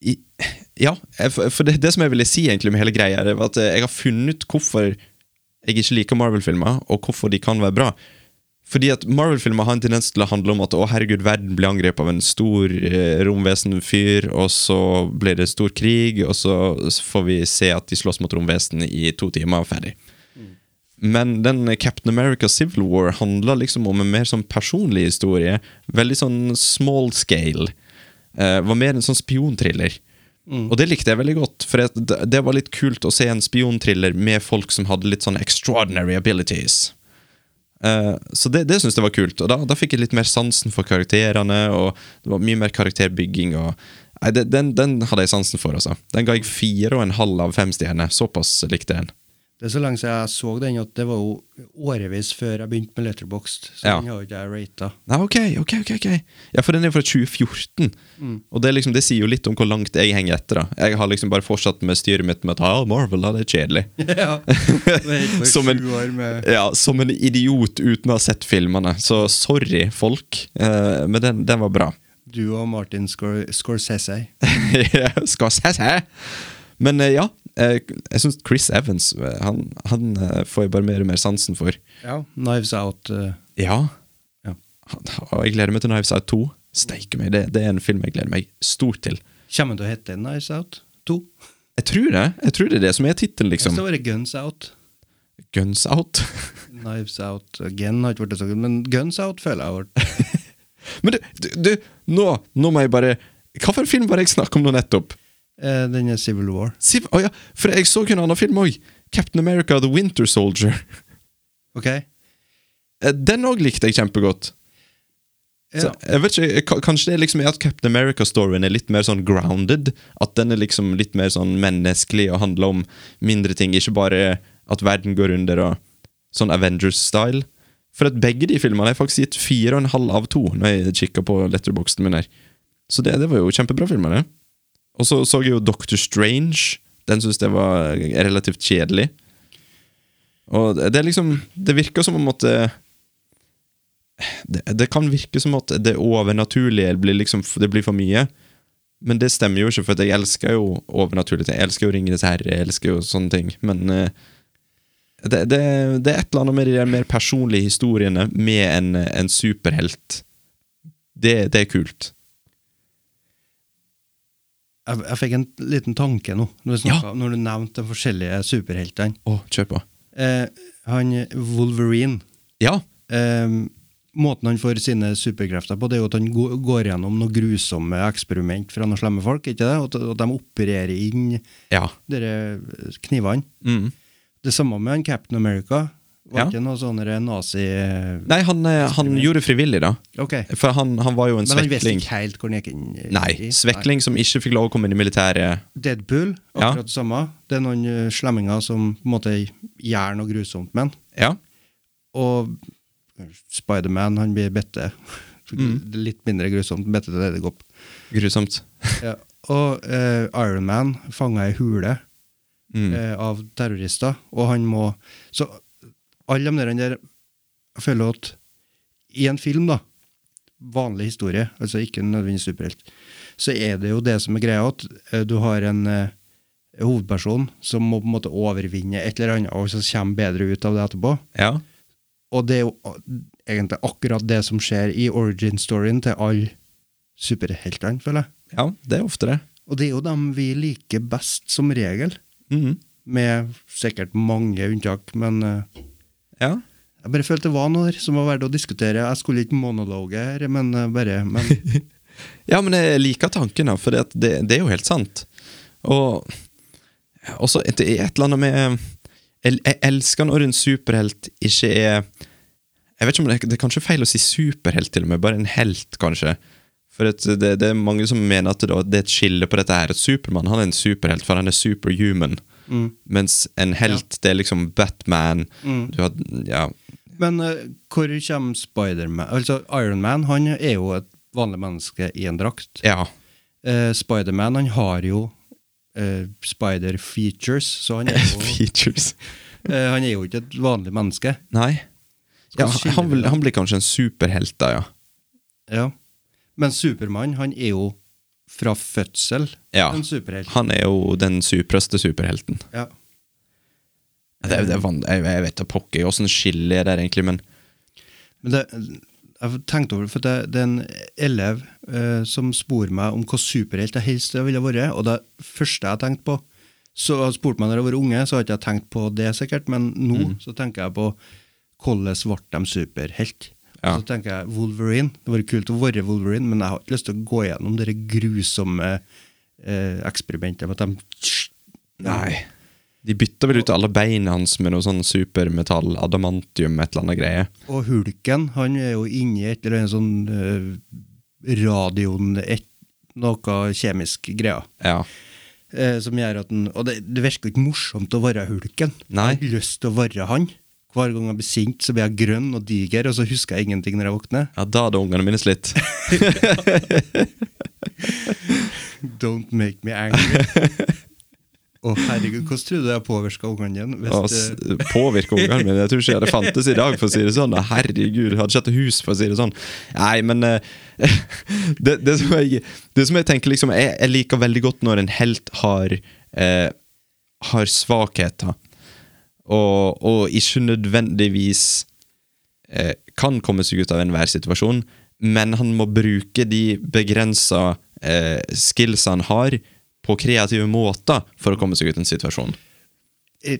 i, Ja, eh, for, for det, det som jeg ville si egentlig med hele greia, det var at eh, jeg har funnet ut hvorfor jeg ikke liker Marvel-filmer, og hvorfor de kan være bra. Fordi at Marvel-filmer har en tendens til å handle om at å herregud, verden blir angrepet av en stor eh, romvesenfyr, og så blir det stor krig, og så får vi se at de slåss mot romvesenet i to timer, og ferdig. Men den Captain America Civil War handler liksom om en mer sånn personlig historie. Veldig sånn small scale. Eh, var mer en sånn spionthriller. Og det likte jeg veldig godt, for at det, det var litt kult å se en spionthriller med folk som hadde litt sånn extraordinary abilities. Eh, så det, det syns jeg var kult, og da, da fikk jeg litt mer sansen for karakterene. Og det var mye mer karakterbygging. Og, nei, det, den, den hadde jeg sansen for, altså. Den ga jeg fire og en halv av fem stjerner. Såpass likte jeg den.
Det er så lenge siden jeg så den at det var jo årevis før jeg begynte med Letterboxd. Så
Ja.
den har jo ikke jeg rata.
Ja, ok, ok, ok, ok Ja, for den er fra 2014
Mm.
Og det, er liksom, det sier jo litt om hvor langt jeg henger etter da. Jeg har liksom bare fortsatt med styret mitt Med at ah, Marvel, da, det er kjedelig
Ja. Det er ikke bare
Som en-
sju år med
ja, Som en idiot uten å ha sett filmene Så sorry, folk eh, Men den, den var bra
du og Martin Scor Scorsese.
Skal se seg Men eh, ja, eh, jeg synes Chris Evans eh, Han, han eh, får jeg bare mer og mer sansen for
Ja. Knives Out. eh,
Ja.
Ja.
Og jeg gleder meg til Knives Out 2 Steike meg, det, det er en film jeg gleder meg stort til
Kommer den til å hete Knives Out 2?
Jeg tror det. Jeg tror det er det som er tittelen,
Hvis
liksom.
det var Guns Out.
Guns out.
Knives Out again har ikke vært det så godt, men Guns Out føler jeg har vært
Men du, du, du nå, nå må jeg bare Hva for en film var det jeg snakket om nå nettopp?
Eh, den er Civil War.
Siv, å ja, for jeg så kun en annen film òg. Captain America The Winter Soldier.
OK?
Eh, Den òg likte jeg kjempegodt. Så,
Ja. eh,
jeg vet ikke, ka- Kanskje det liksom er at Captain America-storyen er litt mer sånn grounded? At den er liksom litt mer sånn menneskelig og handler om mindre ting, ikke bare at verden går under og sånn Avengers-style? For at begge de filmene har jeg faktisk gitt fire og en halv av to når jeg kikka på letterboxen min her. Så det, det var jo kjempebra filmer, det. Og så så jeg jo Doctor Strange. Den syns jeg var relativt kjedelig. Og det er liksom Det virker som om at eh, det, det kan virke som at det overnaturlige blir, liksom, det blir for mye. Men det stemmer jo ikke, for at jeg elsker jo overnaturlige ting. Jeg elsker jo Ringenes herre, jeg elsker jo sånne ting. Men eh, det, det, det er et eller annet med de der mer personlige historiene med en, en superhelt. Det, det er kult.
Jeg, jeg fikk en liten tanke nå, når, du
Ja.
snakket, når du nevnte de forskjellige superheltene.
Å, kjør på.
Eh, han Wolverine
Ja.
eh, Måten han får sine superkrefter på, det er jo at han gå- går gjennom noen grusomme eksperiment fra noen slemme folk. ikke det? At, at de opererer inn
Ja.
dere eh, knivene.
Mm.
Det samme med han Captain America. Var
Ja.
ikke noe sånn der nazi...
Nei, han, eh, han gjorde frivillig, da.
Ok.
For han, han var jo en
Men han visste
svekling.
ikke helt hvor han gikk inn i.
Nei, svekling som ikke fikk lov å komme inn i militæret.
Nei. Deadpool,
Ja.
akkurat det samme. Det er noen eh, slemminger som på en måte gjør noe grusomt med han.
Ja.
Og Spiderman, han blir bitte. Det er Litt mindre grusomt, bitte til edderkopp.
Grusomt.
Ja. Og eh, Iron Man fanga ei hule
Mm.
eh, av terrorister, og han må Så alle de der- der Jeg føler at i en film, da, vanlig historie, altså ikke nødvendigvis superhelt, så er det jo det som er greia, at eh, du har en eh, hovedperson som må på en måte overvinne et eller annet, og så kommer bedre ut av det etterpå.
Ja.
Og det er jo a- egentlig akkurat det som skjer i origin-storyen til alle superheltene, føler jeg.
ja, det er ofte det.
Og det er jo dem vi liker best som regel,
Mhm.
med sikkert mange unntak, men eh,
Ja.
jeg bare følte det var noe der som var verdt å diskutere. Jeg skulle ikke monologe her, men eh, bare men,
ja, men jeg liker tanken, da, for det, at det, det er jo helt sant. Og og så et, et eller annet med Jeg, jeg elsker når en superhelt ikke er Jeg vet ikke om det, det er kanskje feil å si superhelt, til og med. Bare en helt, kanskje. For at det, det er mange som mener at det, da- det er et skille på dette her. At Supermann han er en superhelt, for han er superhuman. Mens en helt, det er liksom Batman. Du har, ja,
men eh, hvor kommer Spiderman Altså, Ironman han er jo et vanlig menneske i en drakt.
ja.
Eh, Spiderman han har jo eh, spider features, så han er jo,
Features.
eh, han er jo ikke et vanlig menneske.
Nei. Ja,
Skal vi skille
han, vil-
det?
han blir kanskje en superhelt, da, ja.
Ja. Men Supermann, han er jo fra fødsel
ja.
en superhelt.
Han er jo den supreste superhelten.
Ja.
Det, er- det er van- jeg, jeg vet da pokker åssen skillet er der, egentlig, men
Men det, jeg tenkte over det, for det, det er en elev eh, som spor meg om hva superhelt jeg helst ville vært, og det første jeg tenkte på så jeg spurte meg når jeg var unge, så har ikke jeg tenkt på det sikkert, men nå
Mm.
så tenker jeg på hvordan ble de superhelt?
Ja.
Og Så tenker jeg Wolverine. Det hadde vært kult å være Wolverine, men jeg har ikke lyst til å gå gjennom det grusomme eh, eksperimentet med at de
Nei. De bytter vel ut alle beina hans med noe sånn supermetall, adamantium, et eller annet greie.
Og Hulken, han er jo inni et eller annet sånn eh, radioen et, Noe kjemisk greier.
Ja.
eh, som gjør at den, Og det, det virker jo ikke morsomt å være Hulken.
Nei.
Jeg har lyst til å være han. Hver gang jeg blir sint, så blir jeg grønn og diger, og så husker jeg ingenting når jeg våkner.
ja, da hadde ungene mine slitt.
Don't make me angry. Å, herregud, hvordan trodde jeg påvirka ungene dine? hvis
Og s-
det-
påvirke ungene mine. Jeg tror ikke det fantes i dag, for å si det sånn. Herregud, jeg hadde ikke hatt hus, for å si det sånn. Nei, men eh, det, det, som jeg, det som jeg tenker liksom jeg, jeg liker veldig godt når en helt har eh, Har svakheter, og, og ikke nødvendigvis eh, kan komme seg ut av enhver situasjon, men han må bruke de begrensa eh, skillsa han har, på kreative måter for å komme seg ut av en situasjon.
Eh,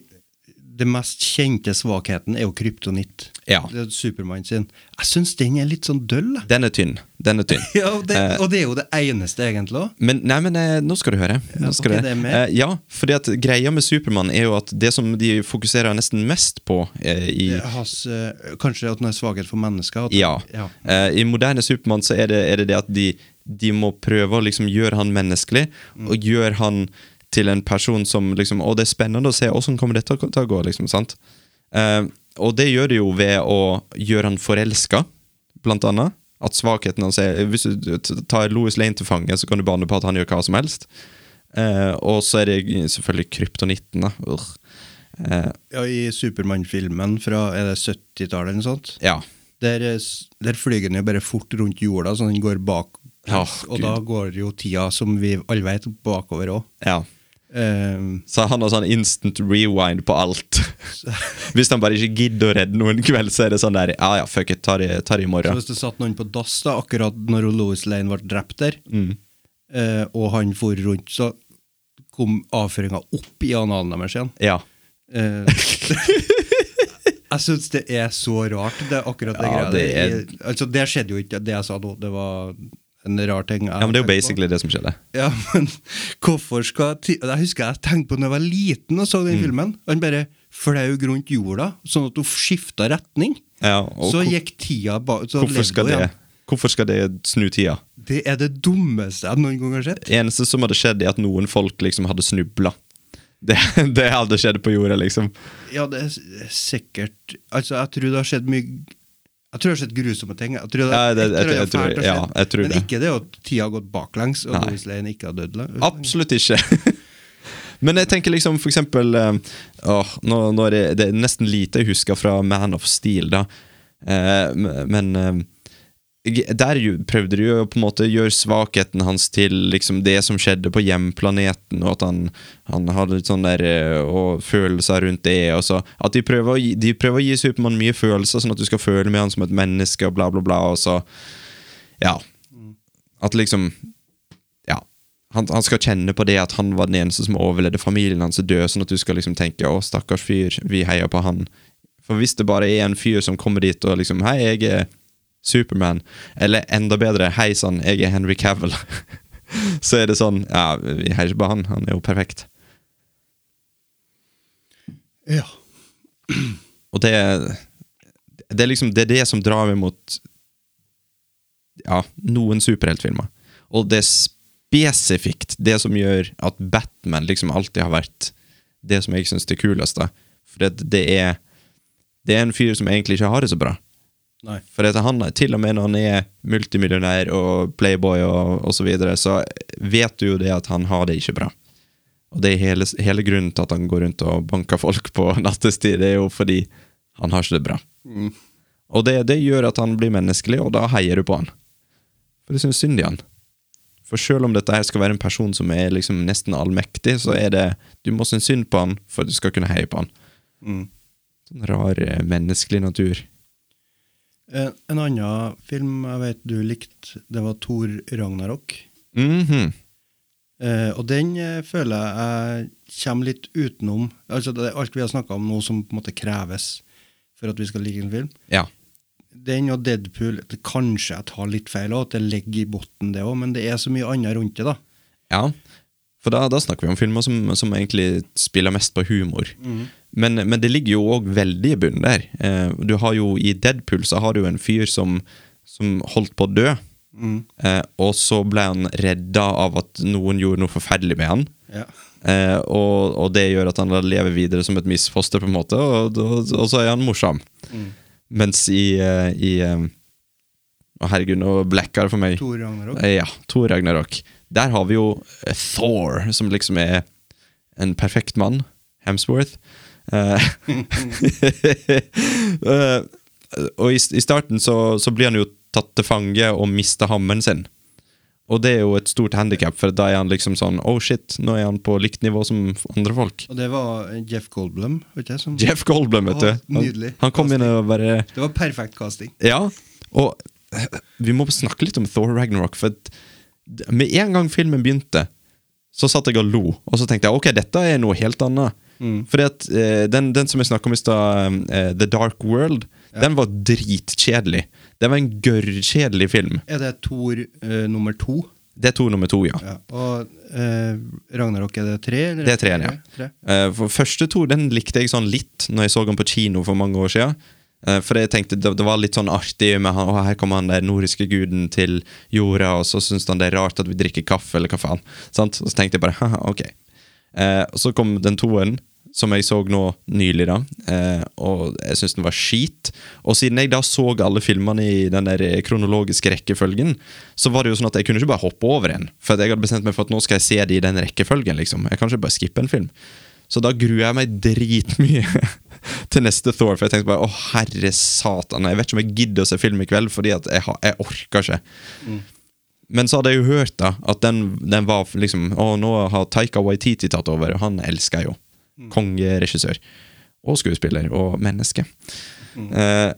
det mest kjente svakheten er jo kryptonitt.
Ja.
Det er Supermann sin. Jeg syns den er litt sånn døll. jeg.
Den er tynn. Den er tynn.
Ja, og, det,
Eh,
og det er jo det eneste, egentlig. også.
Men, nei, men eh, nå skal du høre. Nå skal du
ok, det er
høre.
med.
Eh, ja, fordi at greia med Supermann er jo at det som de fokuserer nesten mest på eh, i
Det er Hans, eh, kanskje at den er svakhet for mennesker. At,
Ja. Eh, I moderne Supermann så er det, er det det at de, de må prøve å liksom gjøre han menneskelig, og gjøre han til en person som liksom Å, det er spennende å se åssen kommer dette til å gå, liksom, sant? Eh, og det gjør de jo ved å gjøre han forelska, blant annet. At svakheten hans er Hvis du t- tar Louis Lane til fange, så kan du bane på at han gjør hva som helst. Eh, og så er det selvfølgelig kryptonitten, da. Urgh. Eh,
Ja, I Supermann-filmen fra er det 70-tallet eller noe sånt,
ja.
der, eh, s- der flyger den jo bare fort rundt jorda, så den går bak.
Ja,
og
Gud.
da går jo tida, som vi alle vet, bakover Ehm, òg.
ja. Så han har sånn instant rewind på alt. Hvis han bare ikke gidder å redde noen kveld, så er det sånn der Ja ja, fuck it, ta det, ta det i
Så
morgen.
hvis det satt noen på dass da, akkurat når Louis Lane ble drept der,
Mm.
eh, og han for rundt, så kom avføringa opp i analen deres igjen.
Ja.
Eh, jeg syns det er så rart, det er akkurat det
Ja,
greia.
det er-
der. Jeg- altså, det skjedde jo ikke, det jeg sa nå. Det var en rar ting.
ja, men det er jo basically det som skjedde.
Ja, men hvorfor skal ti- Jeg husker jeg tenkte på når jeg var liten og så
Mm.
den filmen. Han bare flaug rundt jorda, sånn at hun skifta retning.
Ja, og
så
hvor-
gikk tida bak
Hvorfor skal det, hvorfor skal det snu tida?
Det er det dummeste jeg noen gang har sett.
Det eneste som hadde skjedd, er at noen folk liksom hadde snubla. Det, det hadde skjedd på jorda, liksom.
Ja, det er s- sikkert Altså, jeg tror det har skjedd mye Jeg tror det har skjedd grusomme ting. Jeg tror det,
Ja, det- jeg-
et eller
jeg
annet
tror-
fælt har
ja,
skjedd.
jeg tror
Men
det.
ikke det at tida har gått baklengs, og
Nei.
Louis Lane ikke har dødd. la-
Absolutt ikke. Men jeg tenker liksom for eksempel eh, åh, nå, nå er det, det er nesten lite jeg husker fra Man of Steel, da. Eh, m- men eh, g- der jo, prøvde de jo på en måte å gjøre svakheten hans til liksom det som skjedde på hjemplaneten, og at han, han hadde litt sånn der eh, og følelser rundt det. Og så, at de prøver, å gi, de prøver å gi Supermann mye følelser, sånn at du skal føle med han som et menneske, og bla, bla, bla. Og så, ja. At liksom ja, han, han skal kjenne på det at han var den eneste som overlevde familien hans er død, sånn at du skal liksom tenke 'å, stakkars fyr, vi heier på han'. For hvis det bare er en fyr som kommer dit og liksom 'hei, jeg er Superman', eller enda bedre 'hei sann, jeg er Henry Cavill', så er det sånn 'ja, vi heier ikke på han, han er jo perfekt'.
Ja.
Og det, det er liksom det, er det som drar meg mot ja, noen superheltfilmer. Og det er spesifikt det som gjør at Batman liksom alltid har vært det som jeg syns er kulest. da. For det, det, er, det er en fyr som egentlig ikke har det så bra.
Nei.
For at han, til og med når han er multimillionær og playboy og, og så videre, så vet du jo det at han har det ikke bra. Og det er hele, hele grunnen til at han går rundt og banker folk på nattestid, det er jo fordi han har ikke det bra. Og det, det gjør at han blir menneskelig, og da heier du på han. For du syns synd i han. For selv om dette her skal være en person som er liksom nesten allmektig, så er det Du må synes synd på han for at du skal kunne heie på han. Sånn rar eh, menneskelig natur.
En, Eh, en annen film jeg vet du likte, det var Thor Ragnarok.
Mhm.
Eh, og den eh, føler jeg kommer litt utenom altså det er alt vi har snakka om nå som på en måte kreves for at vi skal like en film.
Ja.
Den og Deadpool det Kanskje jeg tar litt feil, og at det ligger i bunnen, det òg, men det er så mye annet rundt det. da.
Ja, for da, da snakker vi om filmer som, som egentlig spiller mest på humor. Men, men det ligger jo òg veldig i bunnen der. Eh, du har jo I Deadpool så har du jo en fyr som, som holdt på å dø. Eh, og så ble han redda av at noen gjorde noe forferdelig med han.
Ja.
Eh, og, og det gjør at han da lever videre som et misfoster, på en måte, og, og, og så er han morsom. Mens i, eh, i eh, Å, herregud, nå blacker det for meg.
Thor Ragnarok.
Eh, Ja, Thor Ragnarok. Der har vi jo eh, Thor, som liksom er en perfekt mann. Hemsworth. Eh, eh, og i, i starten så, så blir han jo tatt til fange og mister hammen sin. Og det er jo et stort handikap, for da er han liksom sånn Oh shit, nå er han på likt nivå som andre folk.
Og det var eh, Jeff Goldblum. Vet ikke, jeg, som,
Jeff Goldblum, vet
Å,
du. Han,
Mm. nydelig.
han kom inn og bare
Det var perfekt casting.
ja, og vi må snakke litt om Thor Ragnarok, for at med en gang filmen begynte, så satt jeg og lo, og så tenkte jeg ok, dette er noe helt annet. Fordi at eh, den, den som jeg snakka om i stad, eh, The Dark World, den var dritkjedelig. Det var en gørrkjedelig film.
Er det Thor eh, nummer to?
Det er to nummer to, ja.
Ja. Og eh, Ragnarok, er det tre? Eller?
Det er treeren, ja.
Tre.
Eh, For første to den likte jeg sånn litt når jeg så den på kino for mange år siden. Eh, For jeg tenkte det, det var litt sånn artig med han, «Å, her kommer han der nordiske guden til jorda, og så syns han det er rart at vi drikker kaffe, eller hva faen. Sant? Og så tenkte jeg bare haha, ok. Eh, og så kom den toen, som jeg så nå nylig, da. Eh, og jeg syns den var skit. Og siden jeg da så alle filmene i den der eh, kronologiske rekkefølgen, så var det jo sånn at jeg kunne ikke bare hoppe over en. For at jeg hadde bestemt meg for at nå skal jeg se det i den rekkefølgen, liksom. Jeg kan ikke bare skippe en film. Så da gruer jeg meg dritmye til neste Thor, for jeg tenkte bare å herre satan, jeg vet ikke om jeg gidder å se film i kveld, fordi at jeg, har, jeg orker ikke. Men så hadde jeg jo hørt da at den, den var liksom Å, nå har Taika Waititi tatt over, og han elsker jeg jo. Kongeregissør. Og skuespiller. Og menneske. Eh,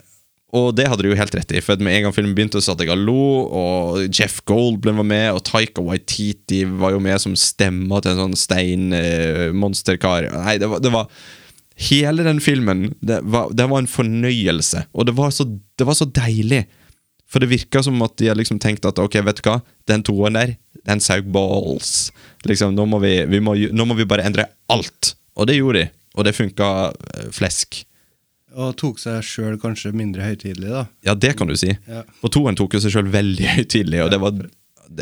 og det hadde du jo helt rett i, for at med en gang filmen begynte, så satt jeg og lo, og Jeff Goldblum var med, og Taika Waititi var jo med som stemma til en sånn steinmonsterkar. Nei, det var, det var Hele den filmen, det var, det var en fornøyelse, og det var så, det var så deilig. For det virka som at de har liksom tenkt at ok, vet du hva, den toeren der, den saug balls. Liksom, nå må, vi, vi må, ju- nå må vi bare endre alt. Og det gjorde de. Og det funka eh, flesk.
Og tok seg sjøl kanskje mindre høytidelig, da.
Ja, det kan du si.
Ja.
Og toeren tok jo seg sjøl veldig høytidelig, og, det var,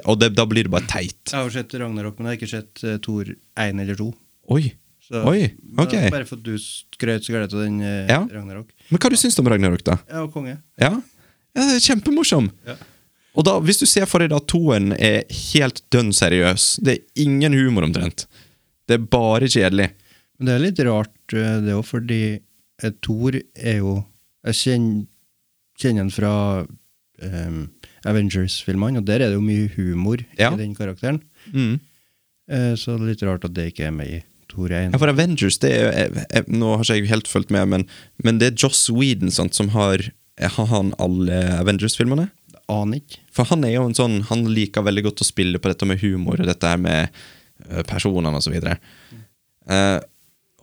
og det, da blir det bare teit.
Jeg har jo sett Ragnarok, men jeg har ikke sett uh, Thor 1 eller 2.
Oi. Oi, ok.
Bare for at du skrøt så gærent av den eh,
Ja.
Ragnarok.
Men hva du syns du om Ragnarok, da?
Ja, og konge.
Ja, ja det er kjempemorsom. Og da, hvis du ser for deg at toen er helt dønn seriøs, det er ingen humor omtrent. Det er bare kjedelig.
Men det er litt rart eh, det òg, fordi eh, Thor er jo Jeg kjenner, kjenner han fra eh, Avengers-filmene, og der er det jo mye humor
Ja.
i den karakteren.
Mm.
Eh, så det er litt rart at det ikke er med i Thor 1.
Ja, for Avengers, det er, jeg, jeg, nå har ikke jeg helt fulgt med, men, men det er Joss Whedon sant, som har Har han alle Avengers-filmene?
Aner ikke.
For han er jo en sånn Han liker veldig godt å spille på dette med humor og dette her med eh, personene og så videre. Eh,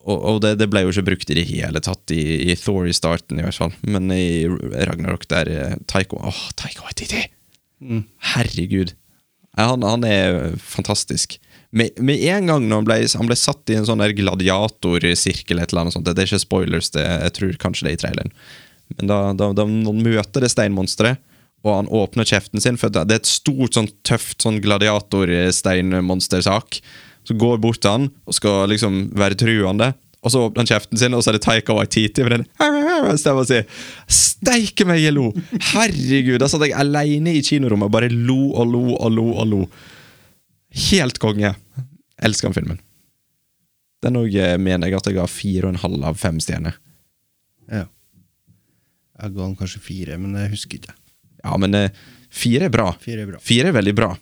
og og det, det ble jo ikke brukt i det hele tatt i, i Thor i starten, i hvert fall. Men i Ragnarok, der eh, Taiko Åh, Taiko Waititi! Herregud. Ja, Han, han er fantastisk. Med, med en gang når han ble, han ble satt i en sånn der gladiatorsirkel, et eller annet sånt, det er ikke spoilers, det, jeg tror kanskje det er i traileren. Men da, da, da han møter det steinmonsteret, og han åpner kjeften sin, for det det er et stort, sånn tøft sånn gladiatorsteinmonstersak, så går bort til han og skal liksom være truende. Og så åpner han kjeften sin, og så er det Taika Waititi med den stemma si. Steike meg, jeg lo! Herregud! Da satt jeg aleine i kinorommet og bare lo og lo og lo og lo. Helt konge. Elsker den filmen. Den òg mener jeg at jeg ga fire og en halv av fem stjerner.
Ja. Jeg ga han kanskje fire, men jeg husker ikke.
Ja, men eh, fire er bra.
Fire er bra.
Fire er veldig bra.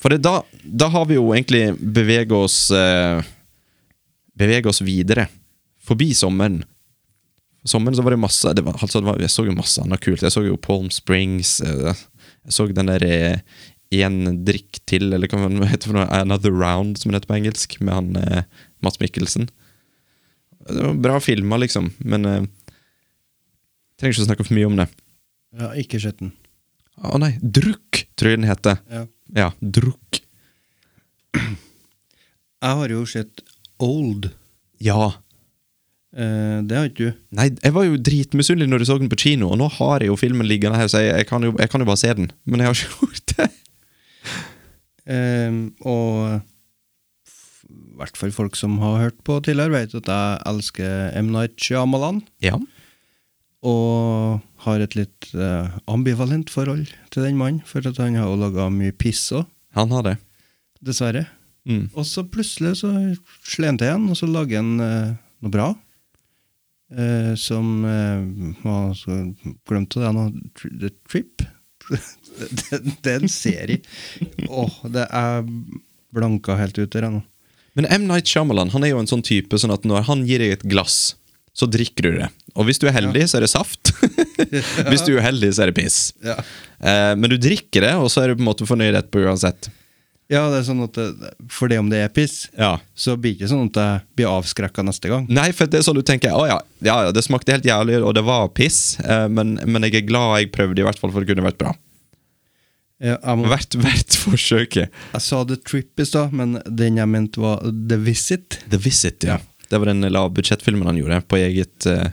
For det, da, da har vi jo egentlig beveget oss eh, Beveget oss videre. Forbi sommeren. Sommeren så var det masse det var, altså det var, Jeg så jo masse annet kult. Jeg så jo Palm Springs. eh, jeg så den der eh, En drikk til, eller hva det heter for noe, Another Round, som det heter på engelsk, med han eh, Mats Mikkelsen. Det var bra filmer, liksom, men eh, Trenger ikke å snakke for mye om det.
Jeg har ikke sett den.
Å nei, Drukk, tror jeg den heter.
Ja.
Ja, Drukk.
Jeg har jo sett Old.
Ja.
Eh, det har ikke du.
Nei, jeg var jo dritmisunnelig når jeg så den på kino, og nå har jeg jo filmen liggende her, så jeg, jeg, kan jo, jeg kan jo bare se den. Men jeg har ikke gjort det.
Eh, og f- i hvert fall folk som har hørt på tidligere, vet at jeg elsker M. Night Shyamalan.
Ja.
Og har et litt eh, ambivalent forhold til den mannen, for at han har jo laga mye piss òg,
Han har det.
dessverre.
Mm.
Og så plutselig så slente jeg igjen, og så lager han eh, noe bra. Eh, som eh, man så glemte det nå. Tri- The Trip. det, det er en serie. Åh, det er blanka helt ut der ennå.
Men M. Night Shyamalan han er jo en sånn type sånn at når han gir deg et glass, så drikker du det. Og hvis du er heldig, så er det saft. hvis du er uheldig, så er det piss.
Ja.
Eh, men du drikker det, og så er du på en måte fornøyd etterpå uansett.
Ja, det er sånn at det, For det om det er piss,
Ja.
så blir det ikke sånn at jeg blir avskrekka neste gang.
Nei, for det er sånn du tenker Å ja, ja, ja, det smakte helt jævlig, og det var piss, eh, men, men jeg er glad jeg prøvde, i hvert fall for det kunne vært bra.
Jeg, jeg, må,
Hvert, hvert forsøket.
jeg sa The Trip i stad, men den jeg mente var The Visit.
The Visit, ja. Det var den lavbudsjettfilmen han gjorde på eget eh,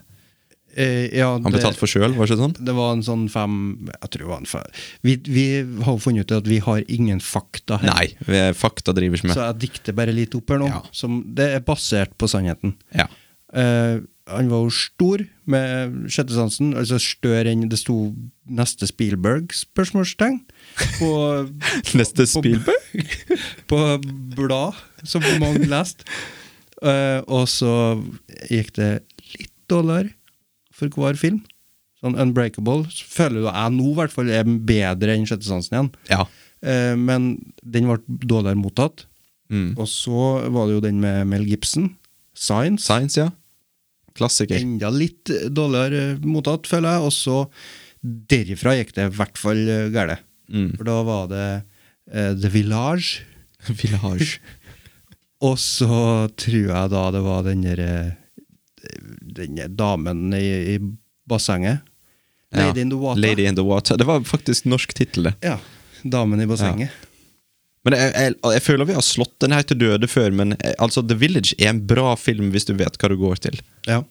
Eh, ja,
Han
det-
betalte for sjøl, var det ikke sånn?
Det var en sånn fem Jeg tror det var en fem Vi, vi har jo funnet ut at vi har ingen fakta her.
Nei, vi er fakta driver ikke med.
Så jeg dikter bare litt opp her nå.
Ja.
Som, det er basert på sannheten.
Ja.
Eh, han var jo stor med sjettesansen, altså større enn det sto 'neste Spielberg'? spørsmålstegn På,
Neste Spielberg?
på blad som mange leste. Eh, og så gikk det litt dårligere for hver film. Sånn Unbreakable så føler jo jeg nå i hvert fall er bedre enn sjettesansen igjen.
Ja.
Eh, men den ble dårligere mottatt.
Mm.
Og så var det jo den med Mel Gibson, 'Science'.
Science, ja. Klassiker.
enda litt dårligere eh, mottatt, føler jeg. Og så derifra gikk det i hvert fall eh, gærent.
Mm.
For da var det eh, The Village,
Village.
og så tror jeg da det var den der eh, den der damen i, i bassenget.
Ja.
Lady in the Water.
Lady in the Water. Det var faktisk norsk tittel, det.
Ja. Damen i bassenget.
Men jeg, jeg, jeg føler vi har slått den her til døde før, men eh, altså, The Village er en bra film hvis du vet hva du går til.
Ja.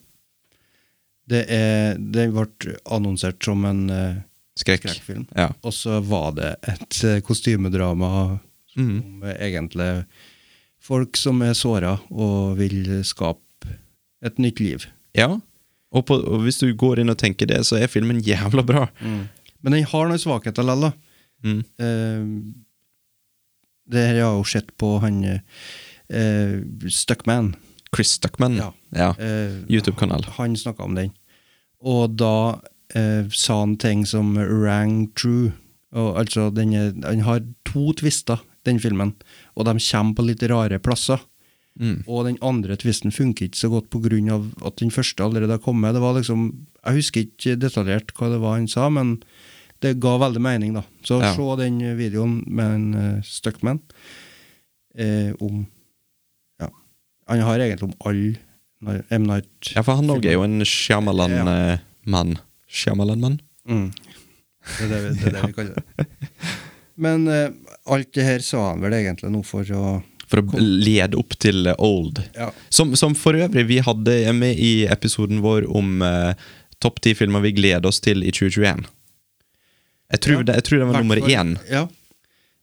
Det er, den ble annonsert som en eh,
Skrekk.
skrekkfilm.
Ja.
Og så var det et eh, kostymedrama om
Mm.
eh, egentlig folk som er såra og vil skape et nytt liv.
ja. Og, på, og hvis du går inn og tenker det, så er filmen jævla bra.
Mm. Men den har noen svakheter likevel, da.
Mm.
Eh, det her har jeg jo sett på han eh, Stuckman.
Chris Stuckman.
Ja.
Ja.
Eh,
YouTube-kanal.
Han snakka om den. Og da eh, sa han ting som rang true. Og, altså, den, er- han har to twister, den filmen, og de kommer på litt rare plasser.
Mm.
Og den andre tvisten funker ikke så godt pga. at den første allerede har kommet. Det var liksom, Jeg husker ikke detaljert hva det var han sa, men det ga veldig mening, da. Så
Ja.
se den videoen med en eh, Stuckman eh, om Ja. Han har egentlig om alle nar- M. Night
ja, for han òg er jo en eh, Shyamalan-mann. Shyamalan-mann?
Mm. Det er det vi, det er det vi kaller det. Men eh, alt det her sa han vel egentlig nå for å
For å lede opp til eh, Old.
Ja.
Som, som for øvrig vi hadde med i episoden vår om eh, topp ti filmer vi gleder oss til i 2021. Jeg tror,
Ja,
det, jeg tror det var nummer
Hvertfall-
én.
Ja.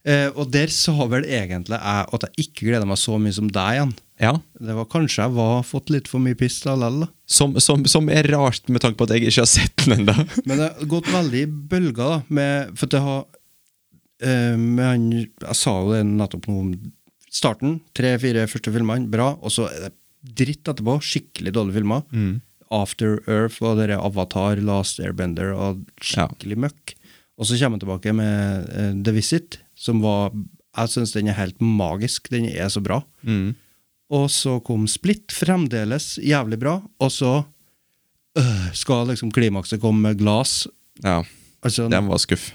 Eh, og der sa vel egentlig jeg at jeg ikke gleda meg så mye som deg igjen.
Ja.
Det var Kanskje jeg var fått litt for mye piss likevel. da.
Som, som, som er rart, med tanke på at jeg ikke har sett den ennå.
Men det har gått veldig i bølger, da. Med, for det har eh, med han, Jeg sa jo det nettopp nå om starten. Tre-fire første filmene, bra. Og så er det dritt etterpå. Skikkelig dårlige filmer. After Earth og dere Avatar, Last Airbender og skikkelig møkk. Og så kommer han tilbake med eh, The Visit, som var Jeg syns den er helt magisk. Den er så bra. Og så kom Split, fremdeles jævlig bra. Og så øh, skal liksom klimakset komme med Glass.
Ja,
Altså
den var skuff.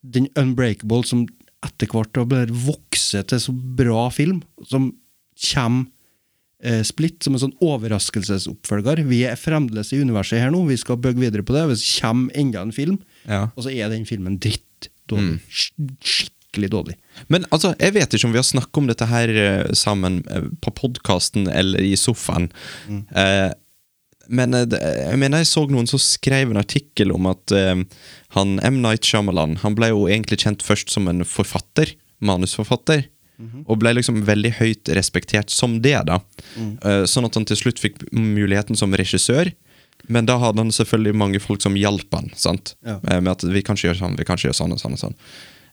den Unbreakable som etter hvert da blir vokse til så bra film, som kommer eh, Split som en sånn overraskelsesoppfølger. Vi er fremdeles i universet her nå, vi skal bygge videre på det. Hvis det kommer enda en film,
Ja. Mm.
og så er den filmen dritt dårlig. Sk- Skikkelig dårlig.
Men altså, jeg vet ikke om vi har snakket om dette her eh, sammen eh, på podkasten eller i sofaen. Eh, men eh, det- jeg mener jeg så noen som skrev en artikkel om at eh, han M. Night Shyamalan han ble jo egentlig kjent først som en forfatter, manusforfatter. Og ble liksom veldig høyt respektert som det, da. Eh, sånn at han til slutt fikk muligheten som regissør. Men da hadde han selvfølgelig mange folk som hjalp han. sant?
Ja.
Eh, med at vi kan ikke gjøre sånn, vi kan ikke gjøre sånn og sånn. Og sånn.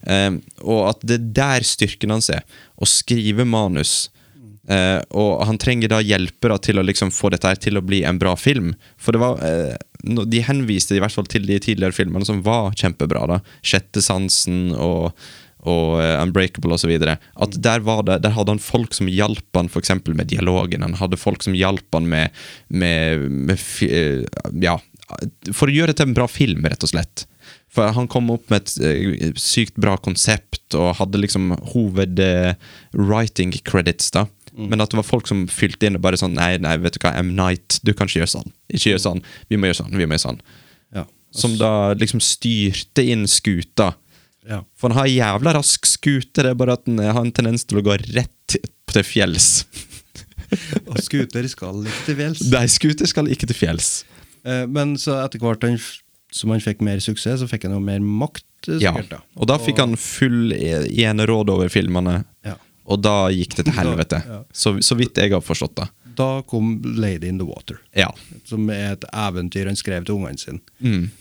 Eh, og at det er der styrken hans er. Å skrive manus. Eh, og han trenger da hjelpere til å liksom få dette her til å bli en bra film. For det var eh, no- De henviste i hvert fall til de tidligere filmene som var kjempebra. da Sjette sansen og, og eh, Unbreakable osv. At der, var det, der hadde han folk som hjalp han for eksempel med dialogen. Han hadde folk som hjalp han med, med, med fi- eh, Ja, for å gjøre det til en bra film, rett og slett. For For han kom opp med et eh, sykt bra konsept og hadde liksom hoved-writing credits, da. Men at det var folk som fylte inn og bare sånn Nei, nei, vet du hva, M. Night, du kan ikke gjøre sånn. Ikke gjør sånn. Vi må gjøre sånn. Vi må gjøre sånn.
Ja.
Som da liksom styrte inn skuta.
Ja.
For han har en jævla rask skute, det er bare at han har en tendens til å gå rett til fjells.
Og skuter skal ikke til fjells.
Nei, skuter skal ikke til fjells.
Eh, Men så etter hvert han, f- som han fikk mer suksess, så fikk han jo mer makt. eh,
Ja.
Sikkert, da.
Og da fikk han full e- eneråd over filmene,
Ja.
og da gikk det til helvete.
Da- ja.
Så, så vidt jeg har forstått det.
Da kom 'Lady in the Water',
Ja.
som er et eventyr han skrev til ungene sine.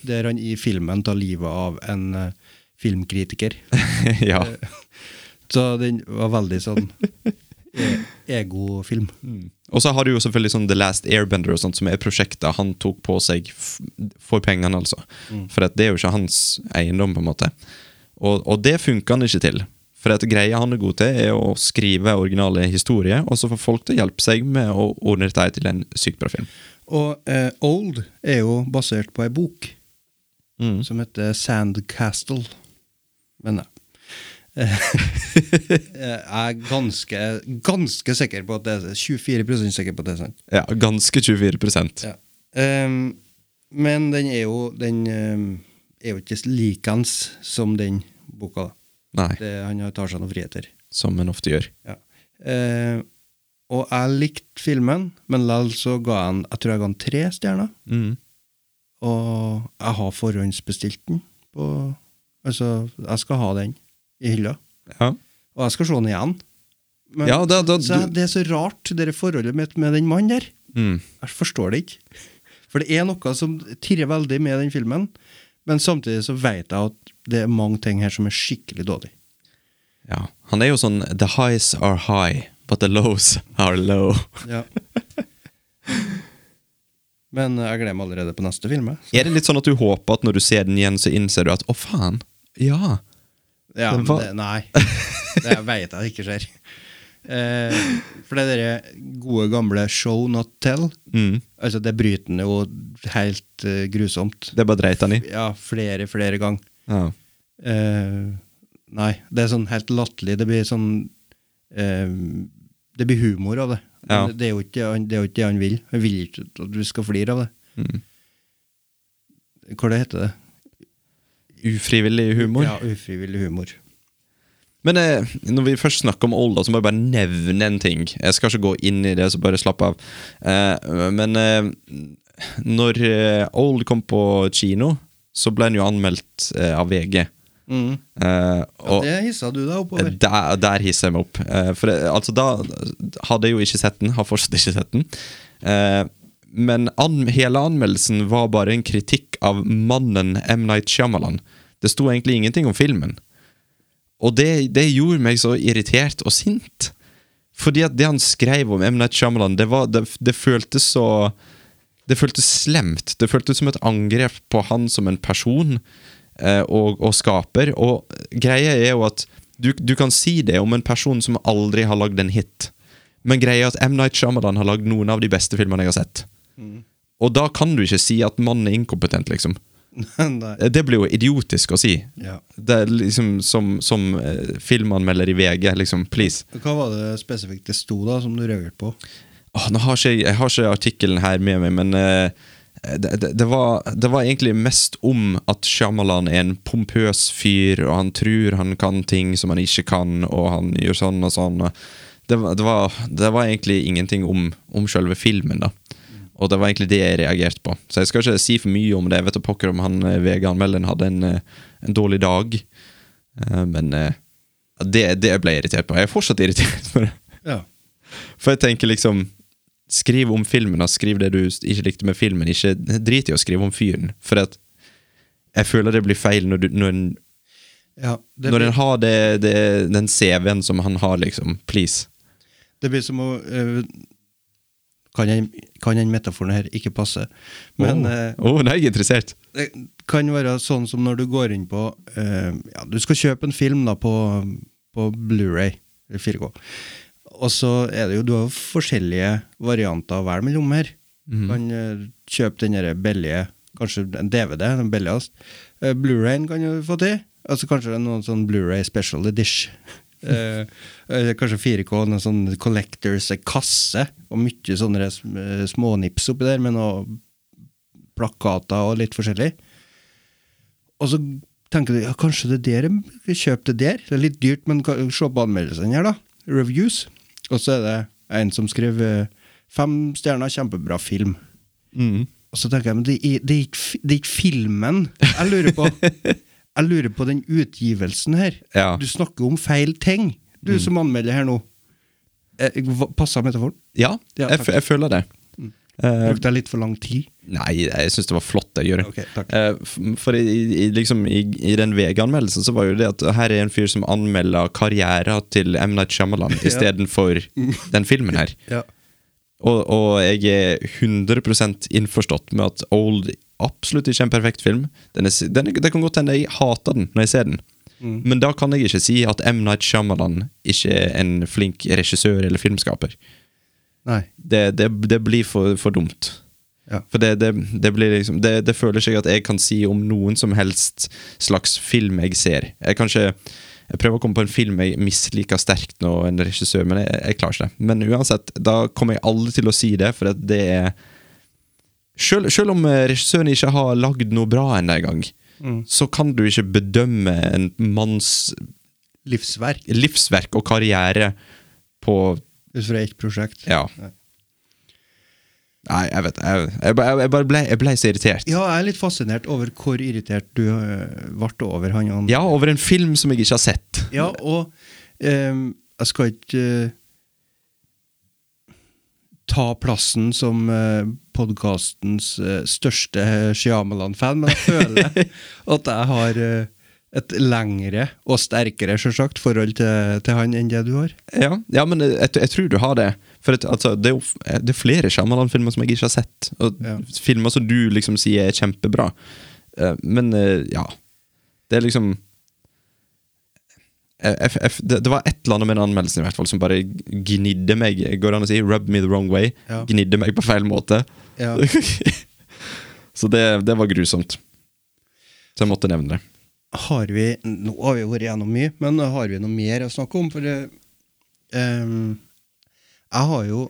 Der han i filmen tar livet av en eh, filmkritiker.
ja.
Så den var veldig sånn e- egofilm.
Og så har du jo selvfølgelig sånn The Last Airbender og sånt, som er prosjektet han tok på seg f for pengene, altså.
Mm.
For at det er jo ikke hans eiendom, på en måte. Og, og det funker han ikke til. For at greia han er god til, er å skrive originale historier, og så får folk til å hjelpe seg med å ordne dette til en sykt bra film.
Og eh, Old er jo basert på ei bok
Mm.
som heter Sandcastle, mener jeg. eh, jeg er ganske, ganske sikker på at det er 24 sikker på at det er sant.
Ja, ganske 24
Ja. Ehm, men den er jo Den ehm, er jo ikke likens som den boka.
Nei,
Det, han tar seg noen friheter.
som en ofte gjør.
Ja. Eh, og jeg likte filmen, men likevel så ga han Jeg tror jeg ga han tre stjerner.
Mm.
Og jeg har forhåndsbestilt den. På, altså, jeg skal ha den i hylla.
Ja.
Og jeg skal se den igjen. Men,
Ja, da- da-
så
du-
jeg, det er så rart, det der forholdet mitt med den mannen der.
Mm.
Jeg forstår det ikke. For det er noe som tirrer veldig med den filmen, men samtidig så vet jeg at det er mange ting her som er skikkelig dårlig.
ja. Han er jo sånn The highs are high, but the lows are low.
Men jeg gleder meg allerede på neste film. jeg.
Er det litt sånn at du håper at når du ser den igjen, så innser du at å, faen? Ja.
Ja,
Men
men
hva-
det, nei. Det veit jeg ikke skjer. Eh, for det derre gode, gamle show not tell,
Mm.
altså det bryter den jo helt eh, grusomt.
Det bare dreit han i.
Ja, flere, flere ganger.
Ja.
Eh, nei, det er sånn helt latterlig. Det blir sånn eh, Det blir humor av det.
Ja.
Men Det, er jo ikke, han- det er jo ikke det han vil. Han vil ikke at du skal flire av det.
Mm.
Hva det heter det?
Ufrivillig humor.
Ja, Ufrivillig humor.
Men eh, når vi først snakker om Olda, så må jeg bare nevne en ting. Jeg skal ikke gå inn i det, så bare slapp av. Eh, men eh, når eh, Old kom på kino, så ble den jo anmeldt eh, av VG. Eh, og
Det hissa du deg oppover.
Eh, Der, der hisser jeg meg opp. Eh, for det, altså, da hadde jeg jo ikke sett den. Har fortsatt ikke sett den. Eh, men an, hele anmeldelsen var bare en kritikk av mannen M. Night Shyamalan. Det sto egentlig ingenting om filmen. Og det, det gjorde meg så irritert og sint. Fordi at det han skrev om M. Night Shyamalan, det, var, det, det føltes så Det føltes slemt. Det føltes som et angrep på han som en person eh, og, og skaper. Og greia er jo at du, du kan si det om en person som aldri har lagd en hit. Men greia er at M. Night Shyamalan har lagd noen av de beste filmene jeg har sett. Og da kan du ikke si at mannen er inkompetent, liksom.
Nei.
Det blir jo idiotisk å si.
Ja.
Det er liksom som, som eh, filmanmelder i VG, liksom. Please.
Hva var det spesifikt det sto da, som du reagerte på?
Åh, nå har ikke, jeg- jeg har ikke artikkelen her med meg, men eh, det, det, det, var, det var egentlig mest om at Shyamalan er en pompøs fyr, og han tror han kan ting som han ikke kan, og han gjør sånn og sånn. og Det, var- det, var, det var egentlig ingenting om, om selve filmen, da. Og det var egentlig det jeg reagerte på. Så jeg skal ikke si for mye om det. Jeg vet da pokker om han eh, VG-anmelderen hadde en, eh, en dårlig dag. Eh, Men eh, det, det ble jeg irritert på. Jeg er fortsatt irritert på det.
Ja.
For jeg tenker liksom Skriv om filmen, da. skriv det du ikke likte med filmen. Ikke Drit i å skrive om fyren. For at jeg føler det blir feil når, du, når, en,
det,
når
blir,
en har det, det, den CV-en som han har, liksom. Please.
det blir som å eh, kan, den, kan den metaforen her ikke passe? Men
Åh.
eh,
Åh, nå er jeg interessert.
det kan være sånn som når du går inn på eh, ja, Du skal kjøpe en film da på, på Blu-ray eller 4K. Og så er det jo, du har jo forskjellige varianter å velge mellom her. Du kan eh, kjøpe den der billige, kanskje en DVD, den billigste. Eh, Blu-rayen kan du få til. Altså Kanskje det er noen sånn Blu-ray special edition. Eh, eller kanskje 4K, noen sånn collectors eh, kasse, og mye sånne sm- eh, smånips oppi der, med noen plakater og litt forskjellig. Og så tenker du ja, kanskje det der kjøp det der. Det er litt dyrt, men ka- se på anmeldelsene her, da. Reviews. Og så er det en som skriver eh, fem stjerner, kjempebra film.
Mm.
Og så tenker jeg, men det er, det, er ikke, fi- det er ikke filmen jeg lurer på. Jeg lurer på den utgivelsen her.
Ja. Mm.
Du snakker om feil ting, du som anmelder her nå. Eh, hva- Passa metaforen?
Ja,
Ja,
jeg, f
takk.
jeg føler det. Eh,
Brukte jeg litt for lang tid?
Nei, jeg syns det var flott, det Jørund.
Ok, takk.
Eh, f- for i, i, liksom, i, i den VG-anmeldelsen så var jo det at her er en fyr som anmelder karrieren til M. Night Shyamalan istedenfor den filmen her.
Ja.
Og, og jeg er 100 innforstått med at Old absolutt ikke er en perfekt film. Den er, s- den er, det kan godt hende jeg hater den når jeg ser den. Men da kan jeg ikke si at M. Night Shyamalan ikke er en flink regissør eller filmskaper.
Nei.
Det, det, det blir for, for dumt.
Ja.
For det, det, det blir liksom det, det føler seg at jeg kan si om noen som helst slags film jeg ser. Jeg kan ikke jeg prøver å komme på en film jeg misliker sterkt nå, en regissør, men jeg, jeg klarer ikke det. Men uansett, da kommer jeg aldri til å si det, for at det er selv, selv om eh, regissøren ikke har lagd noe bra ennå engang, så kan du ikke bedømme en manns
Livsverk
livsverk og karriere på
ut fra ett prosjekt.
ja.
Nei.
Nei, jeg vet Jeg, jeg, ba- jeg bare ble, jeg ble så irritert.
Ja, jeg er litt fascinert over hvor irritert du eh, ble over han. han.
Ja, over en film som jeg ikke har sett.
Ja, og ehm, jeg skal ikke eh, ta plassen som uh, podkastens eh, største Shyamalan-fan, men jeg føler at jeg har eh, et lengre og sterkere selvsagt, forhold til, til han enn det du har.
Ja, ja men jeg, jeg tror du har det. For at, altså, det, er jo, f- det er flere Shyamalan-filmer som jeg ikke har sett. Og
Ja.
Filmer som du liksom sier er kjempebra. Eh, Men eh, ja Det er liksom jeg, jeg, jeg- det, det var et eller annet med den anmeldelsen i hvert fall som bare gnidde meg. Går det an å si 'rub me the wrong way'?
Ja.
Gnidde meg på feil måte.
Ja.
Så det, det var grusomt. Så jeg måtte nevne det.
har vi Nå har vi vært gjennom mye, men har vi noe mer å snakke om? For det, ehm, jeg har jo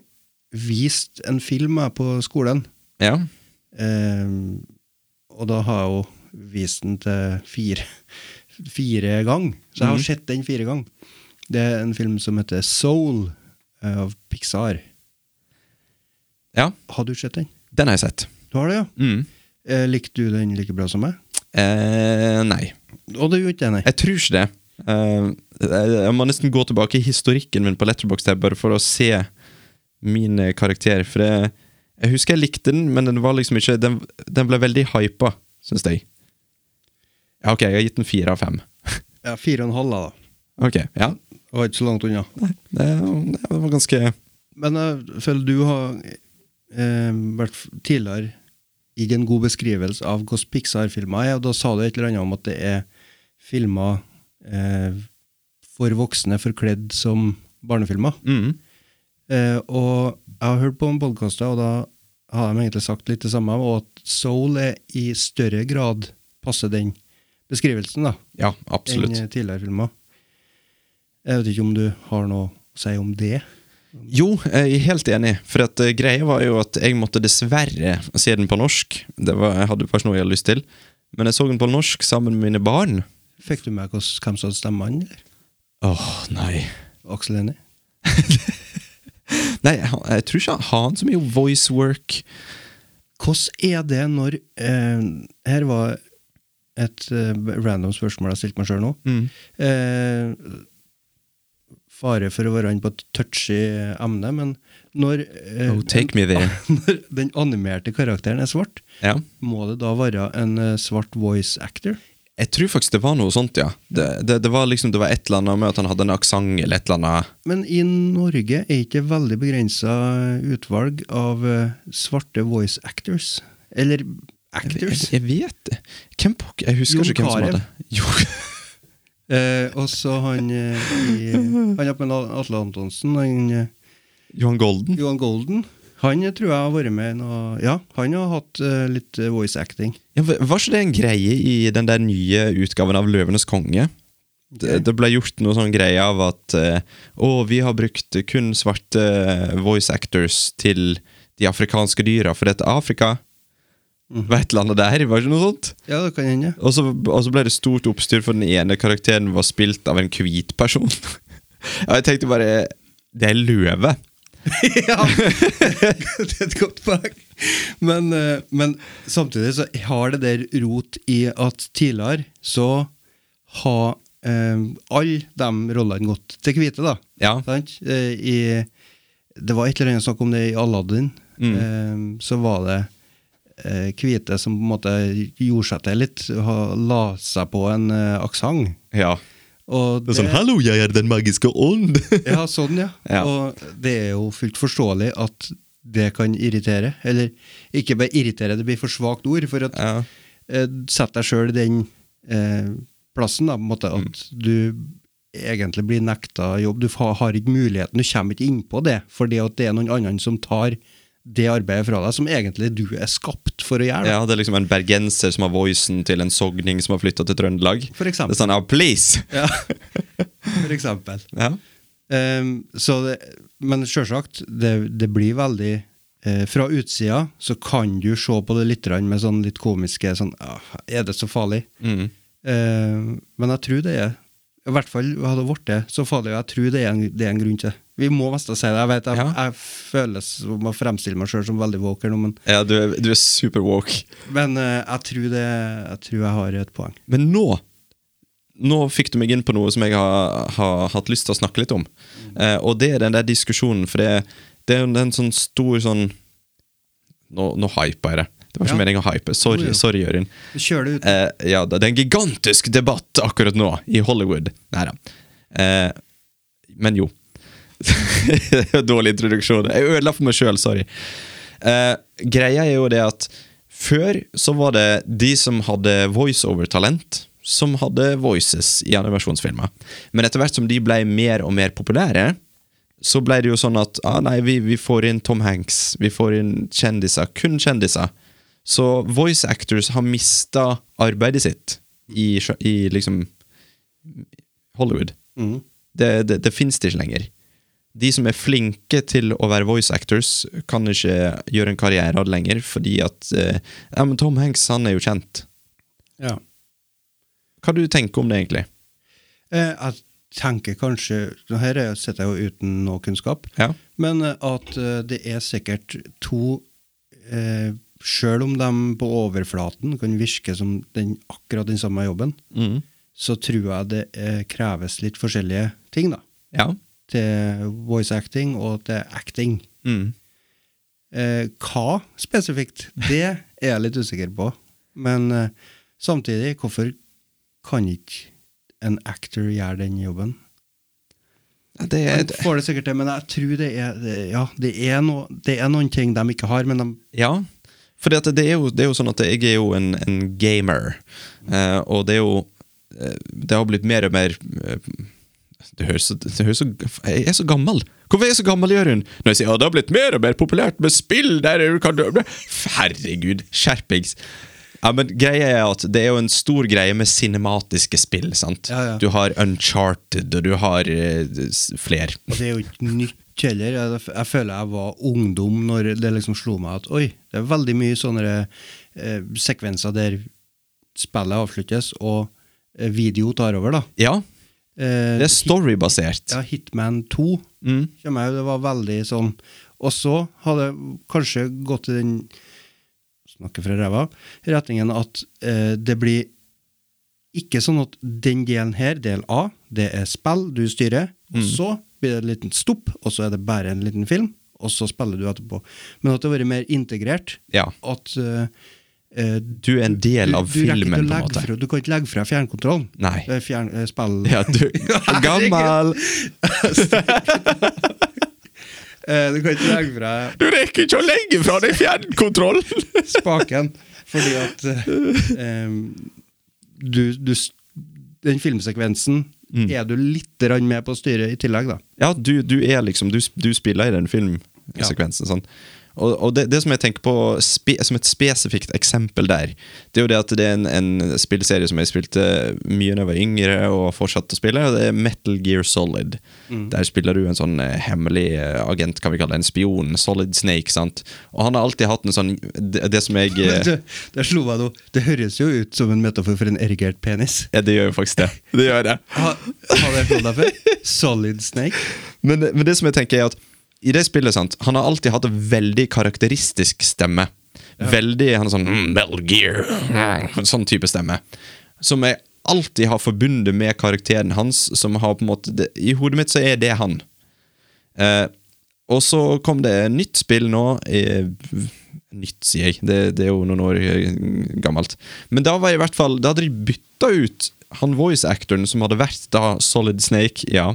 vist en film jeg på skolen.
Ja.
Ehm, og da har jeg jo vist den til fire, fire ganger. Så jeg har sett den fire ganger. Det er en film som heter Soul eh, av Pixar.
ja.
Har du sett den?
Den har jeg sett.
Du har det, ja?
Mm.
Eh, likte du den like bra som meg?
Eh, nei.
Og det gjorde ikke jeg, nei.
Jeg tror ikke det. Eh, jeg jeg må nesten gå tilbake i historikken min på Letterboxd her, bare for å se min eh, karakter. For jeg, jeg husker jeg likte den, men den var liksom ikke Den, den ble veldig hypa, syns jeg. Ja, ok, jeg har gitt den fire av fem.
Ja, fire og en halv, da.
Ok, ja.
Det var ikke så langt unna.
Det, det var ganske
Men jeg føler du har eh, vært f- tidligere gitt en god beskrivelse av hvordan Pixar-filmer er, og da sa du et eller annet om at det er filmer eh, for voksne forkledd som barnefilmer.
mm.
Eh, og jeg har hørt på en podkast, og da har de egentlig sagt litt det samme, og at Soul er i større grad passer den beskrivelsen da,
Ja,
enn
absolutt.
eh, tidligere filmer. Jeg vet ikke om du har noe å si om det?
Jo, jeg er helt enig. For at eh, greia var jo at jeg måtte dessverre se den på norsk. Det var, jeg hadde faktisk noe jeg hadde lyst til. Men jeg så den på norsk sammen med mine barn.
Fikk du med hvordan- hvem som hadde stemmene? eller?
Åh, nei.
Aksel Hennie?
Nei, jeg, jeg tror ikke han har han så mye voice work.
Hvordan er det når eh, Her var et eh, random spørsmål jeg stilte meg sjøl nå.
Mm.
Eh, fare for å være inne på et touchy emne, men når, eh,
Oh, take me there.
når den animerte karakteren er svart,
Ja.
må det da være en eh, svart voice actor?
Jeg tror faktisk det var noe sånt, ja. Det, det, det var liksom, det var et eller annet med at han hadde en aksang eller et eller annet.
Men i Norge er ikke veldig begrensa utvalg av eh, svarte voice actors. Eller
Jeg,
actors.
jeg, jeg vet det. Hvem pokker- Jeg husker
Jon
ikke hvem som
Carew.
hadde Jo,
Eh, og så han eh, i, Han oppe med Atle Antonsen, han, eh,
Johan Golden.
Johan Golden. Han tror jeg har vært med i noe Ja, han har hatt eh, litt eh, voice acting.
Ja, v- var ikke det en greie i den der nye utgaven av Løvenes konge? Det, det ble gjort noe sånn greie av at eh, Å, vi har brukt kun svarte eh, voice actors til de afrikanske dyra, for dette er Afrika.
Mhm.
Vet landet der, var det ikke noe sånt?
Ja, det kan hende.
Og så, og så ble det stort oppstyr, for den ene karakteren var spilt av en hvit person. Og jeg tenkte bare Det er løve.
ja, det er et godt poeng. Men, eh, men samtidig så har det der rot i at tidligere så har eh, alle de rollene gått til hvite, da.
Ja.
Sant? Eh, i, det var et eller annet snakk om det i Aladdin.
Mm.
Eh, så var det eh, hvite som på en måte gjorde seg til litt, ha, la seg på en eh, aksent.
Ja.
Og
Det er sånn 'Hallo, jeg er den magiske ånd'.
ja, sånn, ja.
Ja.
Og det er jo fullt forståelig at det kan irritere. Eller ikke bare irritere, det blir for svakt ord. For at
Ja.
eh, Sett deg sjøl i den eh, plassen, da, på en måte, at
Mm.
du egentlig blir nekta jobb. Du fa- har ikke muligheten, du kommer ikke innpå det, fordi at det er noen andre som tar det arbeidet fra deg, som egentlig du er skapt for å gjøre. da.
Ja, det er liksom en bergenser som har voicen til en sogning som har flytta til Trøndelag.
For eksempel.
Det er sånn, ah, please!
For eksempel.
Ja.
Ehm, så det, men sjølsagt, det, det blir veldig eh, Fra utsida så kan du se på det litt grann med sånn litt komiske sånn «Ah, Er det så farlig?
Mm.
Ehm, men jeg tror det er I hvert fall hadde det blitt så farlig, og jeg tror det er en, det er en grunn til det. Vi må nesten si det. Jeg vet, jeg,
Ja.
jeg føles som å fremstille meg sjøl som veldig våken nå, men,
ja du, er, du er super woke.
men eh, jeg, tror det, jeg tror jeg har et poeng.
Men nå Nå fikk du meg inn på noe som jeg har, har hatt lyst til å snakke litt om. Eh, og det er den der diskusjonen, for det, det er jo en sånn stor sånn Nå, nå hypa jeg det. Det var ikke
Ja.
meningen å hype. Sorry,
Jo, jo.
sorry Jørund.
Kjør det ut.
Eh, ja, det er en gigantisk debatt akkurat nå i Hollywood. Neida. Eh, men jo. Dårlig introduksjon. Jeg ødela for meg sjøl, sorry. Eh, greia er jo det at før så var det de som hadde voiceover-talent, som hadde voices i animasjonsfilmer. Men etter hvert som de ble mer og mer populære, så ble det jo sånn at ah, nei, vi, vi får inn Tom Hanks, vi får inn kjendiser, kun kjendiser. Så voice actors har mista arbeidet sitt i, sjø- i liksom Hollywood. Det, det, det fins det ikke lenger. De som er flinke til å være voice actors, kan ikke gjøre en karriere av det lenger, fordi at eh, ja, men Tom Hanks han er jo kjent.
Ja.
Hva du tenker om det, egentlig?
Eh, jeg tenker kanskje nå Her er- sitter jeg jo uten noe kunnskap.
Ja.
Men eh, at eh, det er sikkert to eh, Sjøl om de på overflaten kan virke som den, akkurat den samme jobben, så tror jeg det eh, kreves litt forskjellige ting, da.
Ja.
Til voice acting og til acting.
Mm.
Eh, hva spesifikt, det er jeg litt usikker på. Men eh, samtidig, hvorfor kan ikke en actor gjøre den jobben?
Det er,
Han får det sikkert til, men jeg tror det er, det- ja, det er, noe- det er noen ting de ikke har, men de
Ja, for det, er jo- det er jo sånn at jeg er jo en, en gamer, eh, og det er jo eh, Det har blitt mer og mer eh, det høres, så- det høres så Jeg er så gammel! Hvorfor er jeg så gammel, Jørund? Når jeg sier ja, det har blitt mer og mer populært med spill der du kan dø- Herregud, skjerpings! Ja, men greia er at Det er jo en stor greie med cinematiske spill. sant?
Ja, ja.
Du har Uncharted, og du har eh, flere.
Og det er jo ikke nytt heller. Jeg, jeg føler jeg var ungdom når det liksom slo meg at oi, det er veldig mye sånne eh, sekvenser der spillet avsluttes, og eh, video tar over, da.
Ja,
Eh,
det er storybasert.
ja, Hitman 2
Mm.
kommer jeg jo, det var veldig sånn Og så hadde jeg kanskje gått i den Snakker fra ræva. Retningen at eh, det blir ikke sånn at den delen her, del A, det er spill du styrer,
Mm.
og så blir det en liten stopp, og så er det bare en liten film, og så spiller du etterpå. Men at det har vært mer integrert.
Ja.
At eh, eh,
Du er en del av
du rekker ikke
filmen, på
å
en
legge
måte.
Fra, du kan ikke legge fra fjernkontrollen.
Nei.
Eh, Fjern, eh, spill...
Ja, du Gammal!
Eh, du kan ikke legge fra
Du rekker ikke å legge fra deg fjernkontrollen!
spaken, fordi at eh, em, du, du, s- Den filmsekvensen er du litt grann med på å styre i tillegg, da.
Ja, du, du er liksom Du, du spiller i den filmsekvensen. Sånn. Og, og det, det som jeg tenker på spe, som et spesifikt eksempel der, det er jo det at det er en, en spillserie som jeg spilte mye da jeg var yngre og fortsatte å spille, og det er Metal Gear Solid. Der spiller du en sånn eh, hemmelig eh, agent, kan vi kalle det, en spion, Solid Snake, sant. Og han har alltid hatt en sånn Det, det som jeg eh,
Det, det slo meg nå. Det høres jo ut som en metafor for en erigert penis.
Ja, det gjør jo faktisk det. Det gjør det.
Ha- Har det slått deg før? Solid Snake?
Men, men det som jeg tenker er at i det spillet, sant, han har alltid hatt en veldig karakteristisk stemme. Veldig, Han er sånn mm, Metal Gear. mm, Sånn type stemme. Som jeg alltid har forbundet med karakteren hans. Som har på en måte det, I hodet mitt så er det han. Eh, og så kom det et nytt spill nå. Eh, nytt, sier jeg. Det, det er jo noen år eh, gammelt. Men da var jeg i hvert fall Da hadde de bytta ut han voice-actoren som hadde vært da Solid Snake ja,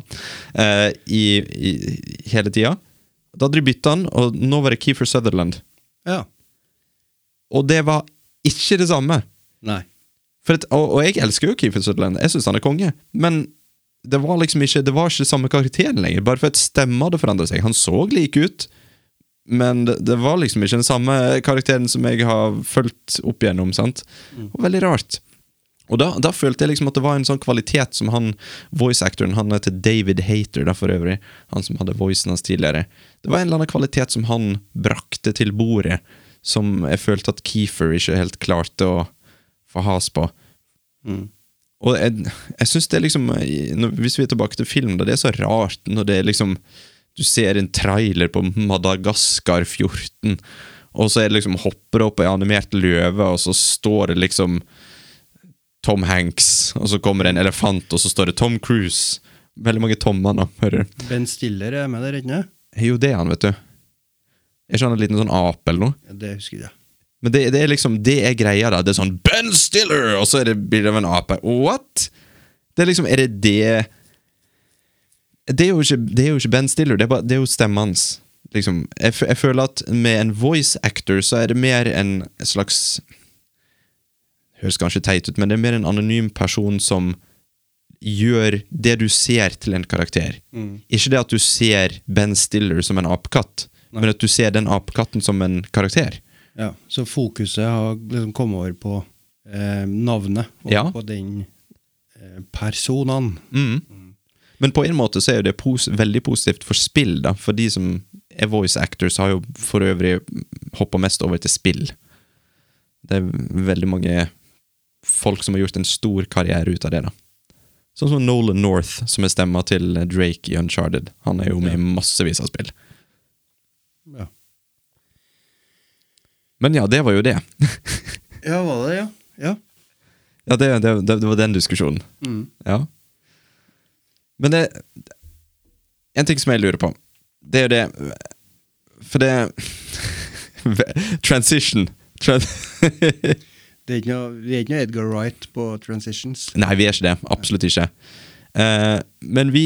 eh, i, i, hele tida. Da hadde de bytta han, og nå var det Keefer Sutherland.
Ja.
Og det var ikke det samme.
Nei.
For at, og, og jeg elsker jo Keefer Sutherland, jeg syns han er konge, men det var liksom ikke Det var ikke samme karakteren lenger, bare for at stemma hadde forandra seg. Han så lik ut, men det, det var liksom ikke den samme karakteren som jeg har fulgt opp gjennom, sant? Og veldig rart. Og da, da følte jeg liksom at det var en sånn kvalitet som han voice-actoren Han heter David Hater, da for øvrig. Han som hadde voicen hans tidligere. Det var en eller annen kvalitet som han brakte til bordet, som jeg følte at Keefer ikke helt klarte å få has på. Og jeg, jeg synes det er liksom i- når, Hvis vi er tilbake til film, da, det er så rart når det er liksom Du ser en trailer på Madagaskar 14, og så er det liksom hopper det opp ei animert løve, og så står det liksom Tom Hanks, og så kommer det en elefant, og så står det Tom Cruise. Veldig mange tommer nå, hører du.
Ben Stiller er med der ennå?
Er jo det han, vet du. Er ikke han en liten sånn ape eller noe?
Ja, Det husker jeg ikke.
Men det, det er liksom, det er greia, da. Det er sånn Ben Stiller! Og så er det bilde av en ape. What?! Det er liksom, er det det Det er jo ikke, det er jo ikke Ben Stiller, det er, bare, det er jo stemmen hans. Liksom, jeg, f- jeg føler at med en voice actor så er det mer en slags Høres kanskje teit ut, men det er mer en anonym person som gjør det du ser til en karakter. Ikke det at du ser Ben Stiller som en apekatt, men at du ser den apekatten som en karakter.
Ja, så fokuset har liksom kommet over på eh, navnet, og
Ja.
på den eh, personen.
Men på en måte så er jo det pos veldig positivt for spill, da. For de som er voice actors, har jo for øvrig hoppa mest over til spill. Det er veldig mange folk som har gjort en stor karriere ut av det, da. Sånn som Nolan North, som er stemma til Drake i Uncharted. Han er jo med i massevis av spill.
Ja.
Men ja, det var jo det.
ja, var det ja. ja.
Ja, det, det, det, det var den diskusjonen. Ja. Men det En ting som jeg lurer på, det er jo det For det Transition. Tran
Det er ikke noe, vi er ikke noe Edgar Wright på Transitions.
Nei, vi er ikke det. Absolutt ikke. Eh, men vi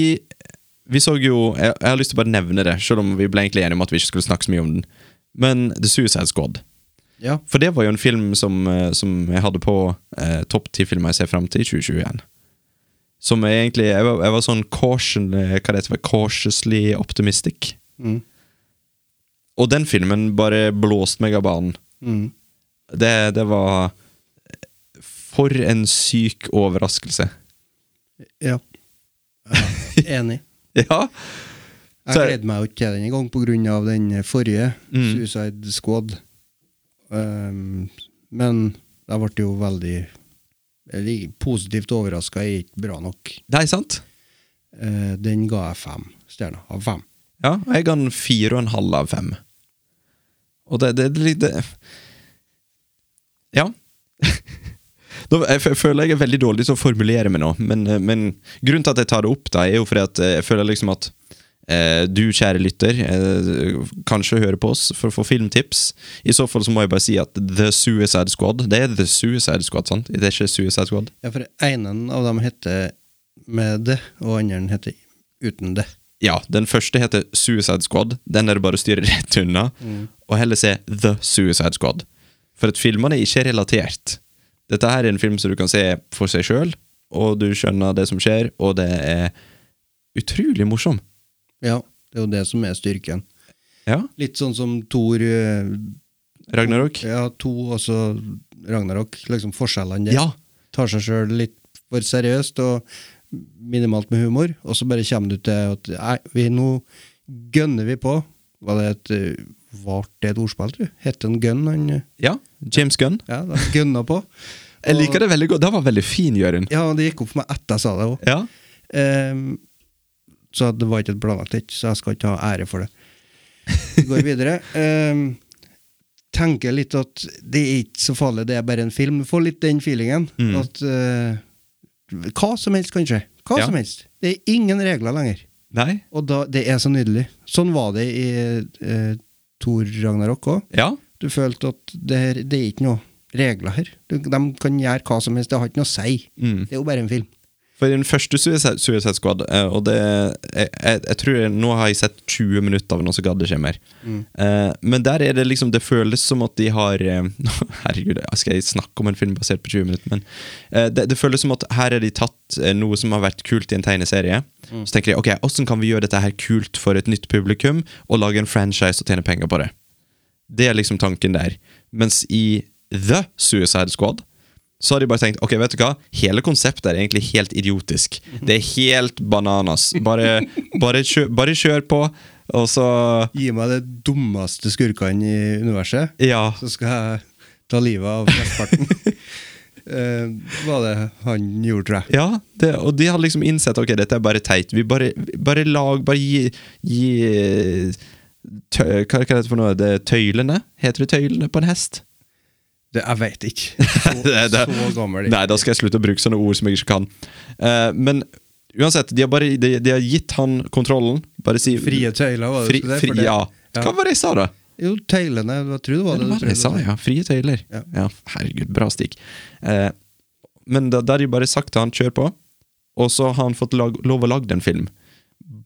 Vi så jo jeg, jeg har lyst til å bare nevne det, selv om vi ble egentlig enige om at vi ikke skulle snakke så mye om den. Men The Suicide Squad.
Ja.
For det var jo en film som, eh, som jeg hadde på eh, topp ti filmer jeg ser fram til i 2021. Som jeg egentlig Jeg var, jeg var sånn caution, eh, hva det heter, cautiously optimistic. Og den filmen bare blåste meg av banen. Det, det var eh, For en syk overraskelse.
ja. ja. Enig.
Ja!
Jeg
Så-
gleder meg jo ikke til den engang pga. den forrige, Suicide Squad. Ehm, men jeg ble jo veldig eller, positivt overraska. Jeg er ikke bra nok.
Nei, sant?
Eh, den ga jeg fem stjerner av fem.
Ja, og jeg ga den fire og en halv av fem. Og det det, det, det Ja. Nå, jeg, f- jeg føler jeg er veldig dårlig til å formulere meg nå, men, eh, men grunnen til at jeg tar det opp, da, er jo fordi at eh, jeg føler liksom at eh, du, kjære lytter, eh, kanskje hører på oss for å få filmtips. I så fall så må jeg bare si at The Suicide Squad Det er The Suicide Squad, sant? Det er ikke Suicide Squad?
Ja, for ene av dem heter med det, og andre heter uten det.
Ja, den første heter Suicide Squad. Den er det bare å styre rett unna. Og heller se The Suicide Squad. For at filmene er ikke relatert. Dette her er en film som du kan se for seg sjøl, og du skjønner det som skjer, og det er utrolig morsom.
Ja, det er jo det som er styrken.
Ja,
Litt sånn som Thor eh,
Ragnarok.
Ja, to, og så Ragnarok. Liksom forskjellene der.
Ja.
Tar seg sjøl litt for seriøst og minimalt med humor, og så bare kommer du til at nei, vi, nå gønner vi på. Var det et eh, Vart det et ordspill, tror du? Het det en gun, han eh?
ja. James Gunn.
Ja, da gønna på.
Jeg liker det veldig godt. Det var veldig fin, Jørund.
Ja, og det gikk opp for meg etter jeg sa det òg.
Ja.
Ehm, så det var ikke et planlagt hit, så jeg skal ikke ha ære for det. Vi går videre. Ehm, tenker litt at det er ikke så farlig, det er bare en film. Får litt den feelingen
Mm.
at eh, hva som helst kan skje. Hva
Ja.
som helst. Det er ingen regler lenger.
Nei?
Og da, det er så nydelig. Sånn var det i uh, Tor Ragnarok òg.
Ja.
Du følte at det, her, det er ikke noe regler her. Du, de kan gjøre hva som helst, det har ikke noe å si.
Mm.
Det er jo bare en film.
For i den første Suicide, Suicide Squad eh, Og det jeg, jeg, jeg tror jeg, Nå har jeg sett 20 minutter av noe som gadd ikke mer. Eh, men der er det liksom Det føles som at de har eh, Herregud, skal jeg snakke om en film basert på 20 minutter? Men eh, det, det føles som at her er de tatt eh, noe som har vært kult i en tegneserie. Så tenker de ok, hvordan kan vi gjøre dette her kult for et nytt publikum, og lage en franchise og tjene penger på det? Det er liksom tanken der. Mens i The Suicide Squad så har de bare tenkt ok, vet du hva, hele konseptet er egentlig helt idiotisk. Det er helt bananas. Bare, bare, kjør, bare kjør på, og så
Gi meg det dummeste skurkene i universet,
Ja.
så skal jeg ta livet av mesteparten. Eh, var det han gjorde, tror jeg.
Ja, det, og de har liksom innsett ok, dette er bare teit. Vi bare, bare lag, bare gi, gi tø, Hva heter det for noe? Det er tøylene? Heter det tøylene på en hest?
Det, jeg veit ikke. Så,
Det- det-
så gammel.
Nei, da skal jeg slutte å bruke sånne ord som jeg ikke kan. Eh, men uansett, de har, bare, de, de har gitt han kontrollen. Bare si
Frie tøyler, var det
Fri,
du skulle si, for
fri,
det-
ja.
Ja.
Hva var det jeg sa, da?
Jo, tøylene, jeg tror det var
det
det.
var det jeg sa, ja. Frie tøyler.
Ja.
Ja. herregud, bra stikk. Eh, men da da har de bare sagt til han 'kjør på', og så har han fått lag, lov å lage en film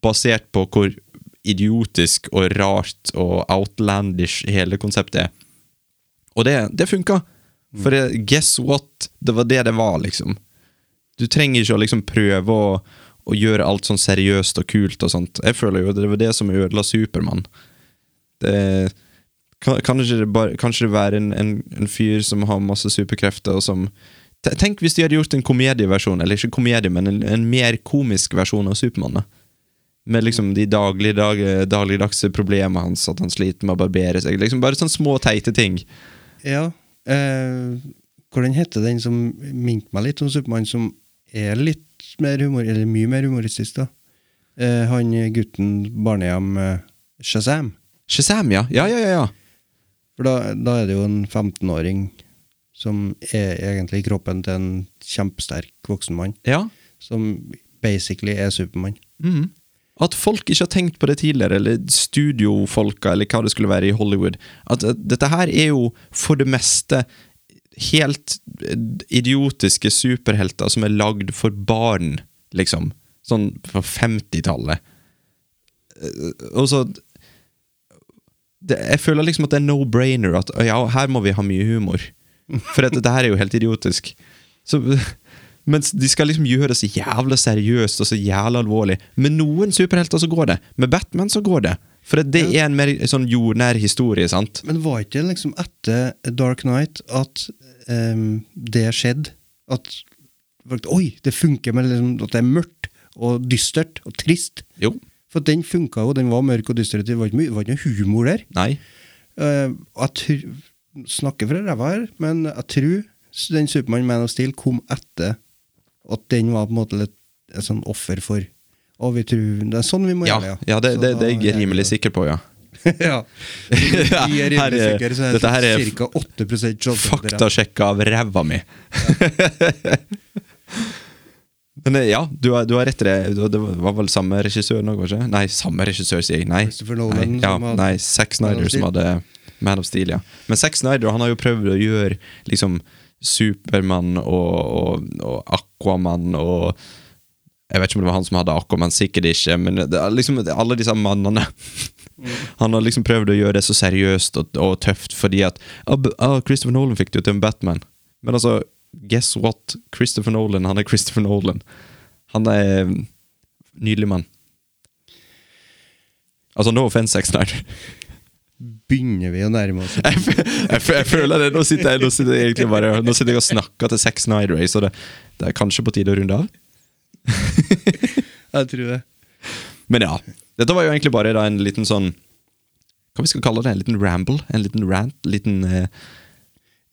basert på hvor idiotisk og rart og outlandish hele konseptet er. Og det, det funka.
Mm.
For det, guess what? Det var det det var, liksom. Du trenger ikke å liksom prøve å, å gjøre alt sånn seriøst og kult og sånt. Jeg føler jo det var det som ødela Supermann. Det, kan, kanskje, det bare, kanskje det være en, en, en fyr som har masse superkrefter og som Te- Tenk hvis de hadde gjort en komedieversjon, eller ikke komedie, men en, en mer komisk versjon av Supermann. da. Med liksom de daglige, dag, dagligdagse problemene hans, at han sliter med å barbere seg. liksom Bare sånne små, teite ting.
Ja. eh, hvordan heter den som minte meg litt om Supermann, som er litt mer humor, eller mye mer humoristisk, da? Eh, han gutten barnehjem eh, Shazam.
Shazam, ja. Ja, ja, ja, ja.
For da, da er det jo en 15-åring som er egentlig kroppen til en kjempesterk voksen mann,
ja.
som basically er Supermann.
Mhm. At folk ikke har tenkt på det tidligere, eller studiofolka, eller hva det skulle være i Hollywood. At, at dette her er jo for det meste helt eh, idiotiske superhelter som er lagd for barn, liksom. Sånn fra 50-tallet. Eh, Og så det, Jeg føler liksom at det er no-brainer at ja, her må vi ha mye humor. For at dette her er jo helt idiotisk. Så mens de skal liksom gjøre det så jævla seriøst og så jævla alvorlig. Med noen superhelter så går det. Med Batman så går det. For det er en mer sånn jordnær historie, sant?
Men var ikke det liksom etter Dark Knight at em, det skjedde? At folk, Oi, det funker med liksom, at det er mørkt og dystert og trist.
Jo.
For den funka jo, den var mørk og dyster. Det var ikke mye- det var ikke noe humor der.
Nei.
Eh, jeg tr- snakker fra ræva her, men jeg tror s- den Supermann Man of Steel kom etter at den var på en måte litt et sånn offer for Og vi tror Det er sånn vi må
Ja,
gjøre
ja det,
Så
det,
da
det er jeg
gjør vi
rimelig
det.
sikker på, ja.
ja. Vi er
Her
rimelig
er-
sikre, så
dette her
er
er
det ca. 8 sjanse for det.
Faktasjekka av ræva mi. Men eh, ja, du har, du har rett i det. Du- Det var vel samme regissør nå, kanskje? Nei, samme regissør, sier jeg. Nei,
Christopher Nolan
nei, ja,
som hadde
nei Zack
Man
Snyder
of
som
Steel.
hadde Man of Steel, ja. Men Zack Snyder han har jo prøvd å gjøre liksom Supermann og, og, og Aquaman og jeg vet ikke om det var han som hadde Aquaman, sikkert ikke, men det er liksom alle disse mannene
Mm.
Han har liksom prøvd å gjøre det så seriøst og, og tøft fordi at «Ah, b- ah, Christopher Nolan fikk det jo til en Batman. Men altså, guess what? Christopher Nolan, han er Christopher Nolan. Han er mm, en nydelig mann. Altså, no offense, Zack Snyder.
begynner vi å nærme oss.
Jeg, fø- jeg, fø- jeg føler det. Nå sitter jeg, nå sitter jeg egentlig bare Nå sitter jeg og snakker til Sex Night Race, og det, det er kanskje på tide å runde av.
Jeg tror det.
Men ja. Dette var jo egentlig bare da en liten sånn Hva vi skal kalle det? En liten ramble? En liten rant? Liten eh,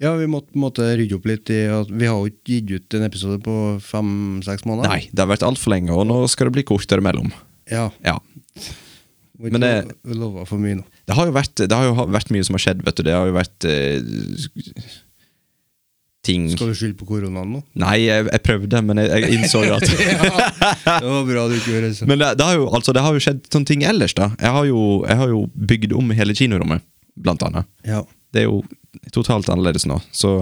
Ja, vi måtte, måtte rydde opp litt i at vi har jo ikke gitt ut en episode på fem-seks måneder.
Nei, det har vært altfor lenge, og nå skal det bli kortere mellom.
Ja,
Ja.
vi
Men det-
lo- vi lova for mye nå.
Det har jo vært, det har jo ha- vært mye som har skjedd, vet du. Det har jo vært eh, ting
Skal du skylde på koronaen nå?
Nei, jeg, jeg prøvde, men jeg, jeg innså jo at
Det var bra du ikke gjorde det. sånn.
Men det, det, har jo, altså, det har jo skjedd sånne ting ellers, da. Jeg har jo, jeg har jo bygd om hele kinorommet, blant annet.
Ja.
Det er jo totalt annerledes nå. Så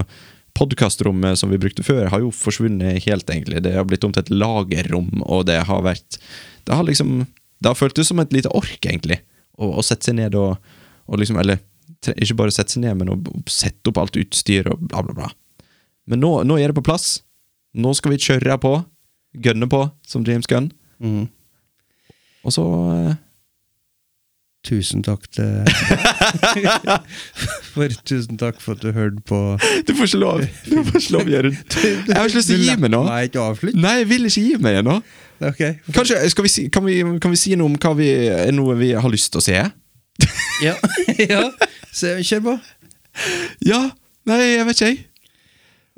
podkastrommet som vi brukte før, har jo forsvunnet helt, egentlig. Det har blitt om til et lagerrom, og det har vært Det har liksom Det har føltes som et lite ork, egentlig, å, å sette seg ned og, og liksom Eller tre- ikke bare sette seg ned, men å sette opp alt utstyr og bla, bla, bla. Men nå, nå er det på plass. Nå skal vi kjøre på. Gønne på, som James Gunn. Mm.
Mhm.
Og så eh,
Tusen takk til For tusen takk for at du hørte på.
Du får ikke lov! Du får ikke lov, Jørund. Jeg har ikke lyst til å
Du
gi
lar
meg nå.
Meg ikke avslutte?
Nei, jeg vil ikke gi meg ennå.
Ok.
Kanskje, skal vi si, kan, vi, kan vi si noe om hva vi, er noe vi har lyst til å se?
Ja. ja. Så kjør på.
Ja! Nei, jeg vet ikke, jeg.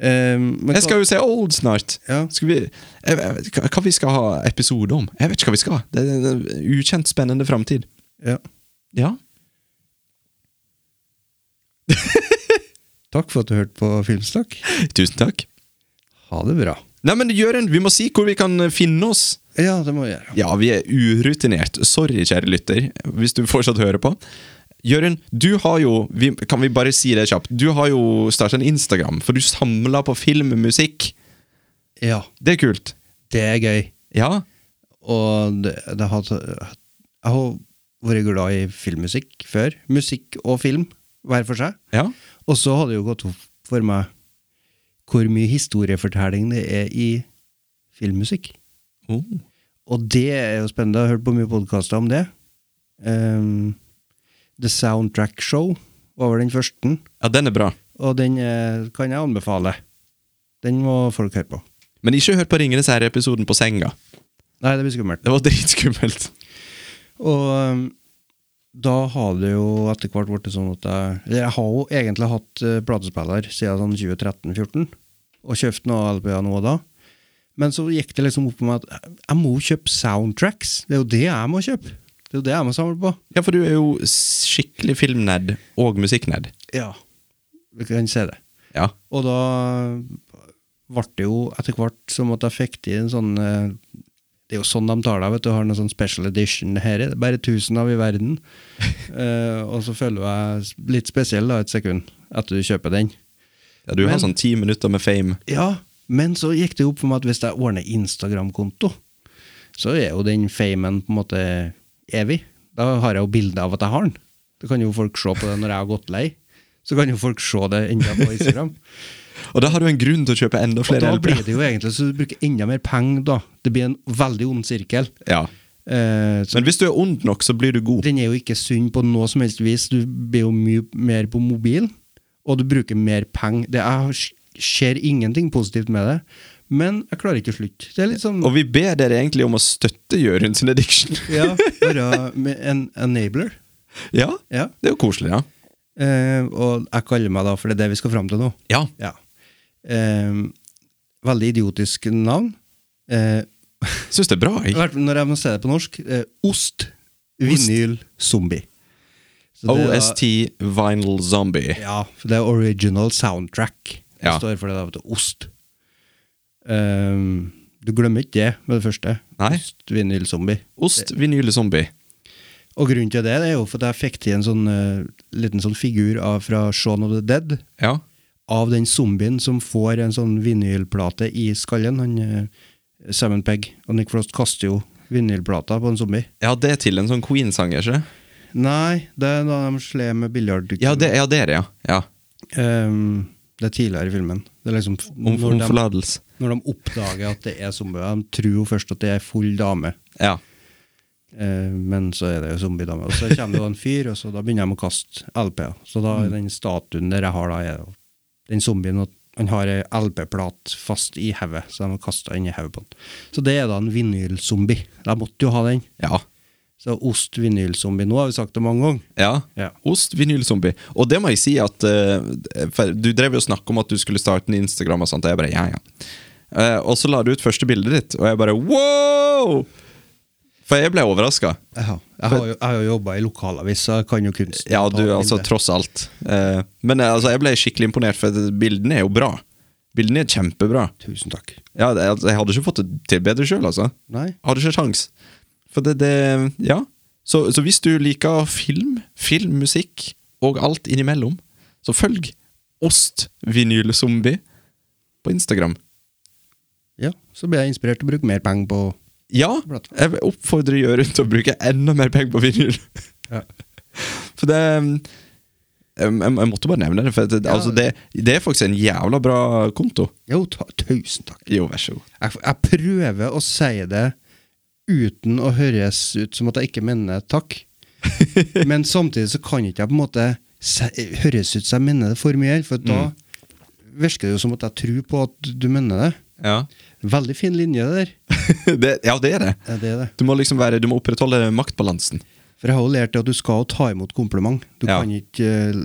Ehm, men
Jeg skal jo se Old snart.
Ja.
Skal vi, jeg, vet- hva- hva vi skal ha episode om? Jeg vet ikke hva vi skal ha. Det er en ukjent, spennende framtid.
hva- ja.
Ja.
Takk for at du hørte på Filmstakk.
Tusen takk.
Ha det bra.
Nei, men Jørund, vi må si hvor vi kan finne oss.
Ja, det må vi gjøre.
Ja, vi er urutinert. Sorry, kjære lytter, hvis du fortsatt hører på. Jørund, du har jo vi, Kan vi bare si det kjapt? Du har jo starta en Instagram, for du samla på filmmusikk.
Ja,
Det er kult.
det er gøy.
Ja.
Og det, det har, jeg har vært glad i filmmusikk før. Musikk og film hver for seg.
Ja.
Og så har det jo gått opp for meg hvor mye historiefortelling det er i filmmusikk.
Oh.
Og det er jo spennende. Jeg har hørt på mye podkaster om det. Ehm, The Soundtrack Show var vel den første,
ja, den er bra.
og den eh, kan jeg anbefale. Den må folk høre på.
Men ikke hør på Ringenes herre-episoden på senga.
Nei, det blir skummelt.
Det var dritskummelt.
Og um, da har det jo etter hvert blitt sånn at jeg eller Jeg har jo egentlig hatt eh, platespiller siden sånn 2013-2014, og kjøpt noe LP-er nå og da. Men så gikk det liksom opp for meg at jeg må kjøpe soundtracks. Det er jo det jeg må kjøpe. Det er jo det jeg må samle på.
Ja, for du er jo skikkelig filmnerd og musikknerd.
Ja. Vi kan se det.
Ja.
Og da ble det jo etter hvert som at jeg fikk til en sånn eh, Det er jo sånn de tar deg, vet du. Har en sånn special edition. Det Her er det bare 1000 av i verden. Eh, og så føler jeg s- litt spesiell da, et sekund etter du kjøper den.
ja du har
Men-
sånn ti minutter med fame.
Ja, men så gikk det jo opp for meg at hvis jeg ordner Instagram-konto, så er jo den famen på en måte evig. Da har jeg jo bilde av at jeg har den. Da kan jo folk se på det når jeg har gått lei. Så kan jo folk se det enda på Instagram.
Og da har du en grunn til å kjøpe enda
Og
flere
da blir
LP-er.
det jo egentlig så du bruker enda mer penger, da. Det blir en veldig ond sirkel.
Ja.
Eh, så
Men hvis du er ond nok, så blir du god.
den er jo ikke sunn på noe som helst vis. Du blir jo mye mer på mobil, og du bruker mer penger. Det er, skjer ingenting positivt med det, men jeg klarer ikke å slutte. Det er litt sånn
Og vi ber dere egentlig om å støtte Jørund sin addiction.
ja, Være med en enabler.
Ja,
Ja.
det er jo koselig, ja.
Eh, og jeg kaller meg da, for det er det vi skal fram til nå.
Ja,
Ja. Eh, veldig idiotisk navn. Eh,
syns det er bra,
I
jeg.
hvert fall Når jeg må se det på norsk eh, Ost, vinyl, zombie. Så det er da-
OST Vinyl Zombie.
Ja, for det er original soundtrack. Det
Ja.
står for det da, vet du. Ost. Ehm, du glemmer ikke det med det første.
Nei.
Ost, vinyl, zombie.
Ost, vinyl, zombie.
Og grunnen til det, det er jo for at jeg fikk til en sånn eh, liten sånn figur av, fra Shaun of the Dead.
Ja.
Av den zombien som får en sånn vinylplate i skallen. Han eh, Simon Pegg og Nick Frost kaster jo vinylplata på en zombie.
ja, det er til en sånn Queen-sang, er ikke det?
Nei, det er da de sler med biljard.
Ja, det ja, det er det, ja. ja.
Ehm, det er tidligere i filmen. Det er liksom f-
Om, om
når, de,
forlatelse.
når de oppdager at det er zombier, de tror jo først at det er full dame.
Ja.
Eh, men så er det jo zombie, da. Og så kommer det jo en fyr, og så da begynner de å kaste LP-er. Så da
Mm.
er den statuen der jeg har, da, er jo den zombien og han har ei LP-plat fast i hodet, så de har kasta den i hodet på han. Så det er da en vinylzombie. De måtte jo ha den.
Ja.
Så ost-vinylzombie. Nå har vi sagt det mange ganger.
Ja.
Ja.
Ost, vinylzombie. Og det må jeg si at eh, for Du drev jo og snakka om at du skulle starte en Instagram, og sånt, og jeg bare ja, ja. Eh, og så la du ut første bildet ditt, og jeg bare wow! For jeg ble overraska.
Jeg har, jeg har jo, jeg har jo jobba i lokalavis, så jeg kan jo kunsten.
Ja,
å ta
du, altså,
bilder.
tross alt. Eh, men eh, altså, jeg ble skikkelig imponert, for bildene er jo bra. Bildene er kjempebra.
Tusen takk.
Ja, det- altså, jeg hadde ikke fått det til bedre sjøl, altså.
Nei.
Hadde ikke sjans. For det, det Ja. Så, så hvis du liker film, filmmusikk og alt innimellom, så følg Ostvinylzombie på Instagram.
Ja, så ble jeg inspirert til å bruke mer penger på
Ja, jeg vil oppfordre Jørund til å bruke enda mer penger på vinyl.
Ja.
For det um, jeg, jeg måtte bare nevne det, for det, altså det, det er faktisk en jævla bra konto.
Jo, ta, tusen takk.
Jo, vær så god.
Jeg, jeg prøver å si det uten å høres ut som at jeg ikke mener takk. Men samtidig så kan ikke jeg på en måte se, høres ut som jeg mener det for mye, for
Mm.
da virker det jo som at jeg tror på at du mener det.
Ja.
Veldig fin linje det der.
det, ja, det er det.
Ja, det er det.
Du må liksom være, du må opprettholde maktbalansen.
For jeg har jo lært at du skal jo ta imot kompliment. Du
Ja.
kan ikke eh,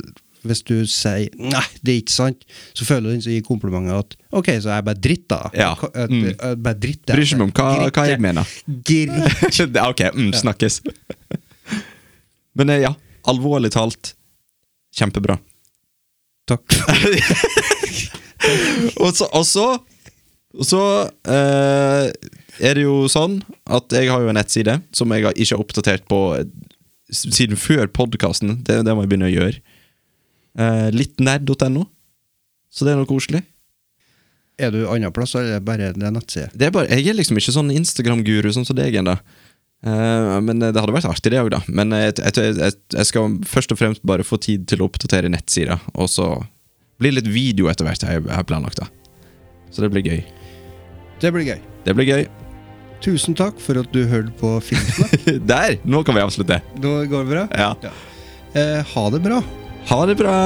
Hvis du sier 'nei, det er ikke sant', så føler den som gir komplimentet at 'ok, så er jeg bare dritt, da'.
Ja.
Ka- at-
Mm.
at Bare dritt
Bryr ikke meg om hva- hva jeg mener.
Gritt.
Ja, ok, mm, snakkes. Men eh, ja, alvorlig talt, kjempebra.
Takk.
Og så, og så, og så eh, er det jo sånn at jeg har jo en nettside som jeg har ikke har oppdatert på eh, s- siden før podkasten. Det, det må jeg begynne å gjøre. Eh, Littnerd.no. Så det er noe koselig.
Er du andre plass, eller er det bare det er nettside?
Det er bare, jeg er liksom ikke sånn Instagram-guru sånn som deg ennå. Eh, men det hadde vært artig, det òg, da. Men jeg, jeg, jeg, jeg skal først og fremst bare få tid til å oppdatere nettsida, og så blir det litt video etter hvert. Jeg, jeg har planlagt da. Så det blir gøy.
Det blir gøy.
Det blir gøy.
Tusen takk for at du hørte på Filmsnakk.
Der! Nå kan vi avslutte.
Nå går det bra?
Ja.
Eh, ha det bra.
Ha det bra!